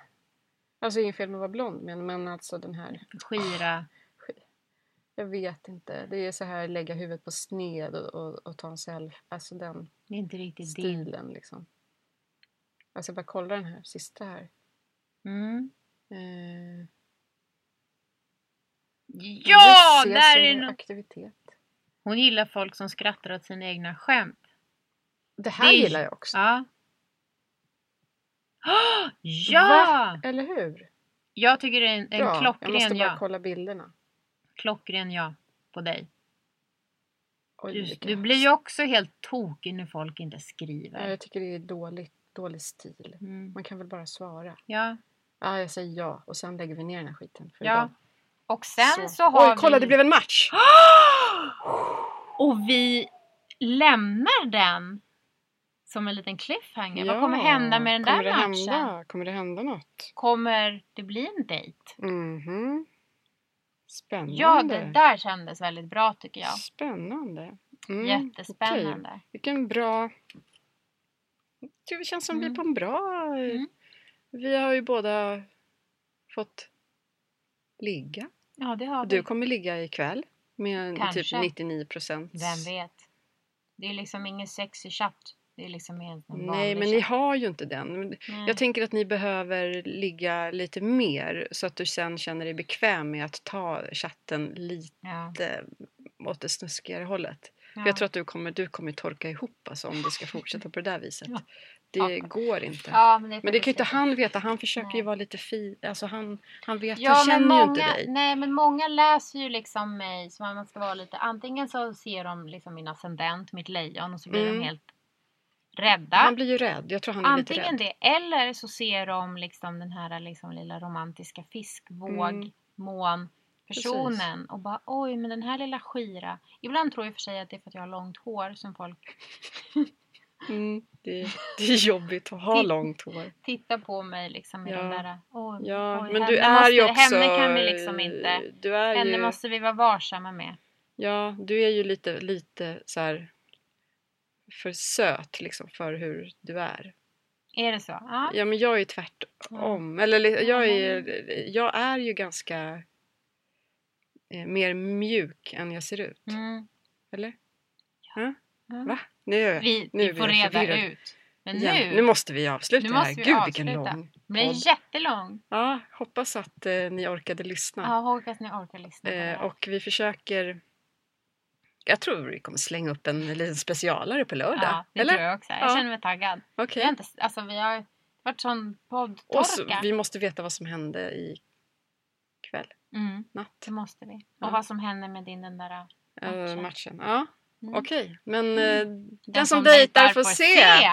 Speaker 2: Alltså inget fel med att vara blond men, men alltså den här.
Speaker 1: Skira.
Speaker 2: Jag vet inte. Det är så här lägga huvudet på sned och, och, och ta en selfie. Alltså den
Speaker 1: Det är inte riktigt din.
Speaker 2: stilen liksom. Alltså bara kolla den här sista här.
Speaker 1: Mm.
Speaker 2: Eh,
Speaker 1: Ja,
Speaker 2: det ses
Speaker 1: där
Speaker 2: som
Speaker 1: är
Speaker 2: en
Speaker 1: no-
Speaker 2: aktivitet.
Speaker 1: Hon gillar folk som skrattar åt sina egna skämt.
Speaker 2: Det här
Speaker 1: Det är-
Speaker 2: gillar jag också.
Speaker 1: Ja. Åh, ja!
Speaker 2: Eller hur?
Speaker 1: Jag tycker det är en, en
Speaker 2: Bra. jag måste
Speaker 1: klockren
Speaker 2: bara
Speaker 1: ja.
Speaker 2: kolla bilderna.
Speaker 1: Klockren ja på dig.
Speaker 2: Oj,
Speaker 1: Du,
Speaker 2: vilken
Speaker 1: du blir ju också helt tokig när folk inte
Speaker 2: Ja,
Speaker 1: skriver.
Speaker 2: jag tycker det är dåligt, dålig stil.
Speaker 1: Mm.
Speaker 2: Man kan väl bara svara.
Speaker 1: Ja.
Speaker 2: Ja, jag säger ja och sen lägger vi ner den här skiten. För
Speaker 1: ja.
Speaker 2: idag.
Speaker 1: Och sen så, har
Speaker 2: Oj, kolla
Speaker 1: vi...
Speaker 2: det blev en match!
Speaker 1: Och vi lämnar den som en liten cliffhanger. Vad kommer hända med den där
Speaker 2: kommer det
Speaker 1: matchen?
Speaker 2: Hända? Kommer det hända något?
Speaker 1: Kommer det bli en dejt?
Speaker 2: Mhm. Spännande.
Speaker 1: Ja, det där kändes väldigt bra tycker jag.
Speaker 2: Spännande. Mm, okej.
Speaker 1: Jättespännande.
Speaker 2: Vilken bra... Det känns som vi
Speaker 1: Mm.
Speaker 2: är på en bra...
Speaker 1: Mm.
Speaker 2: Vi har ju båda fått ligga.
Speaker 1: Ja, det har
Speaker 2: Du
Speaker 1: vi.
Speaker 2: kommer ligga ikväll med
Speaker 1: Kanske.
Speaker 2: typ 99 procent.
Speaker 1: Vem vet? Det är liksom ingen sexig chatt. Det är liksom helt en
Speaker 2: Nej, men ni har ju inte den. Men
Speaker 1: Nej.
Speaker 2: Jag tänker att ni behöver ligga lite mer så att du sen känner dig bekväm med att ta chatten lite
Speaker 1: ja.
Speaker 2: åt det snuskigare hållet.
Speaker 1: Ja.
Speaker 2: För jag tror att du kommer, du kommer torka ihop alltså, om det ska fortsätta på det där viset.
Speaker 1: Ja.
Speaker 2: Det
Speaker 1: Ja.
Speaker 2: går inte.
Speaker 1: ja, men det,
Speaker 2: Men det kan ju inte han veta. Han försöker
Speaker 1: Nej.
Speaker 2: ju vara lite fin. Alltså han, han vet,
Speaker 1: Ja,
Speaker 2: han
Speaker 1: men
Speaker 2: känner ju
Speaker 1: många,
Speaker 2: inte dig.
Speaker 1: Nej, men många läser ju liksom mig som att man ska vara lite... Antingen så ser de liksom min ascendent, mitt lejon och så blir
Speaker 2: Mm.
Speaker 1: de helt rädda.
Speaker 2: Han blir ju rädd. Jag tror han är lite
Speaker 1: Antingen
Speaker 2: rädd.
Speaker 1: det eller så ser de liksom den här liksom lilla romantiska
Speaker 2: Mm.
Speaker 1: fiskvågmån personen
Speaker 2: Precis.
Speaker 1: och bara oj men den här lilla skira. Ibland tror jag i och för sig att det är för att jag har långt hår som folk
Speaker 2: Mm, det, det är jobbigt att ha
Speaker 1: Titt-
Speaker 2: långt hår.
Speaker 1: tittar på mig liksom med
Speaker 2: Ja.
Speaker 1: den där oj,
Speaker 2: Ja,
Speaker 1: oj
Speaker 2: men
Speaker 1: henne
Speaker 2: du är
Speaker 1: måste,
Speaker 2: ju också...
Speaker 1: Henne kan vi liksom inte
Speaker 2: Du är ju...
Speaker 1: henne måste vi vara varsamma med.
Speaker 2: Ja, du är ju lite, lite så här för söt liksom för hur du är.
Speaker 1: Är det så? Ja.
Speaker 2: Mm. Ja, men jag är ju tvärtom. Eller li-
Speaker 1: Ja,
Speaker 2: jag är, jag är ju ganska eh, mer mjuk än jag ser ut.
Speaker 1: Mm.
Speaker 2: Eller?
Speaker 1: Mm.
Speaker 2: Va? Nu,
Speaker 3: Vi,
Speaker 2: nu
Speaker 3: vi
Speaker 2: blir
Speaker 3: får
Speaker 2: jag
Speaker 3: reda
Speaker 2: förvirrad.
Speaker 3: ut. Men
Speaker 2: Ja,
Speaker 3: nu,
Speaker 2: nu måste vi avsluta
Speaker 3: nu
Speaker 2: det här.
Speaker 3: måste vi
Speaker 2: Gud vilken
Speaker 3: avsluta.
Speaker 2: lång
Speaker 1: Det blir
Speaker 2: podd.
Speaker 1: jättelång.
Speaker 2: Ja, hoppas att eh, ni orkade lyssna.
Speaker 1: Ja, hoppas ni orkar lyssna på det
Speaker 2: Eh,
Speaker 1: här.
Speaker 2: och vi försöker... Jag tror vi kommer slänga upp en liten specialare på lördag.
Speaker 1: Ja, det
Speaker 2: eller?
Speaker 1: tror jag också. Jag
Speaker 2: Ja.
Speaker 1: känner mig taggad. Vi
Speaker 2: Okej.
Speaker 1: har, inte, alltså, vi har varit sån poddtorka.
Speaker 2: Och så, vi måste veta vad som hände i kväll,
Speaker 1: Mm,
Speaker 2: natt,
Speaker 1: det måste vi. Och
Speaker 2: Ja.
Speaker 1: vad som händer med din den där...
Speaker 2: eh,
Speaker 1: matchen.
Speaker 2: matchen. Ja,
Speaker 1: Mm.
Speaker 2: okej. Men eh, den,
Speaker 1: Den
Speaker 2: som dejtar får se.
Speaker 1: se.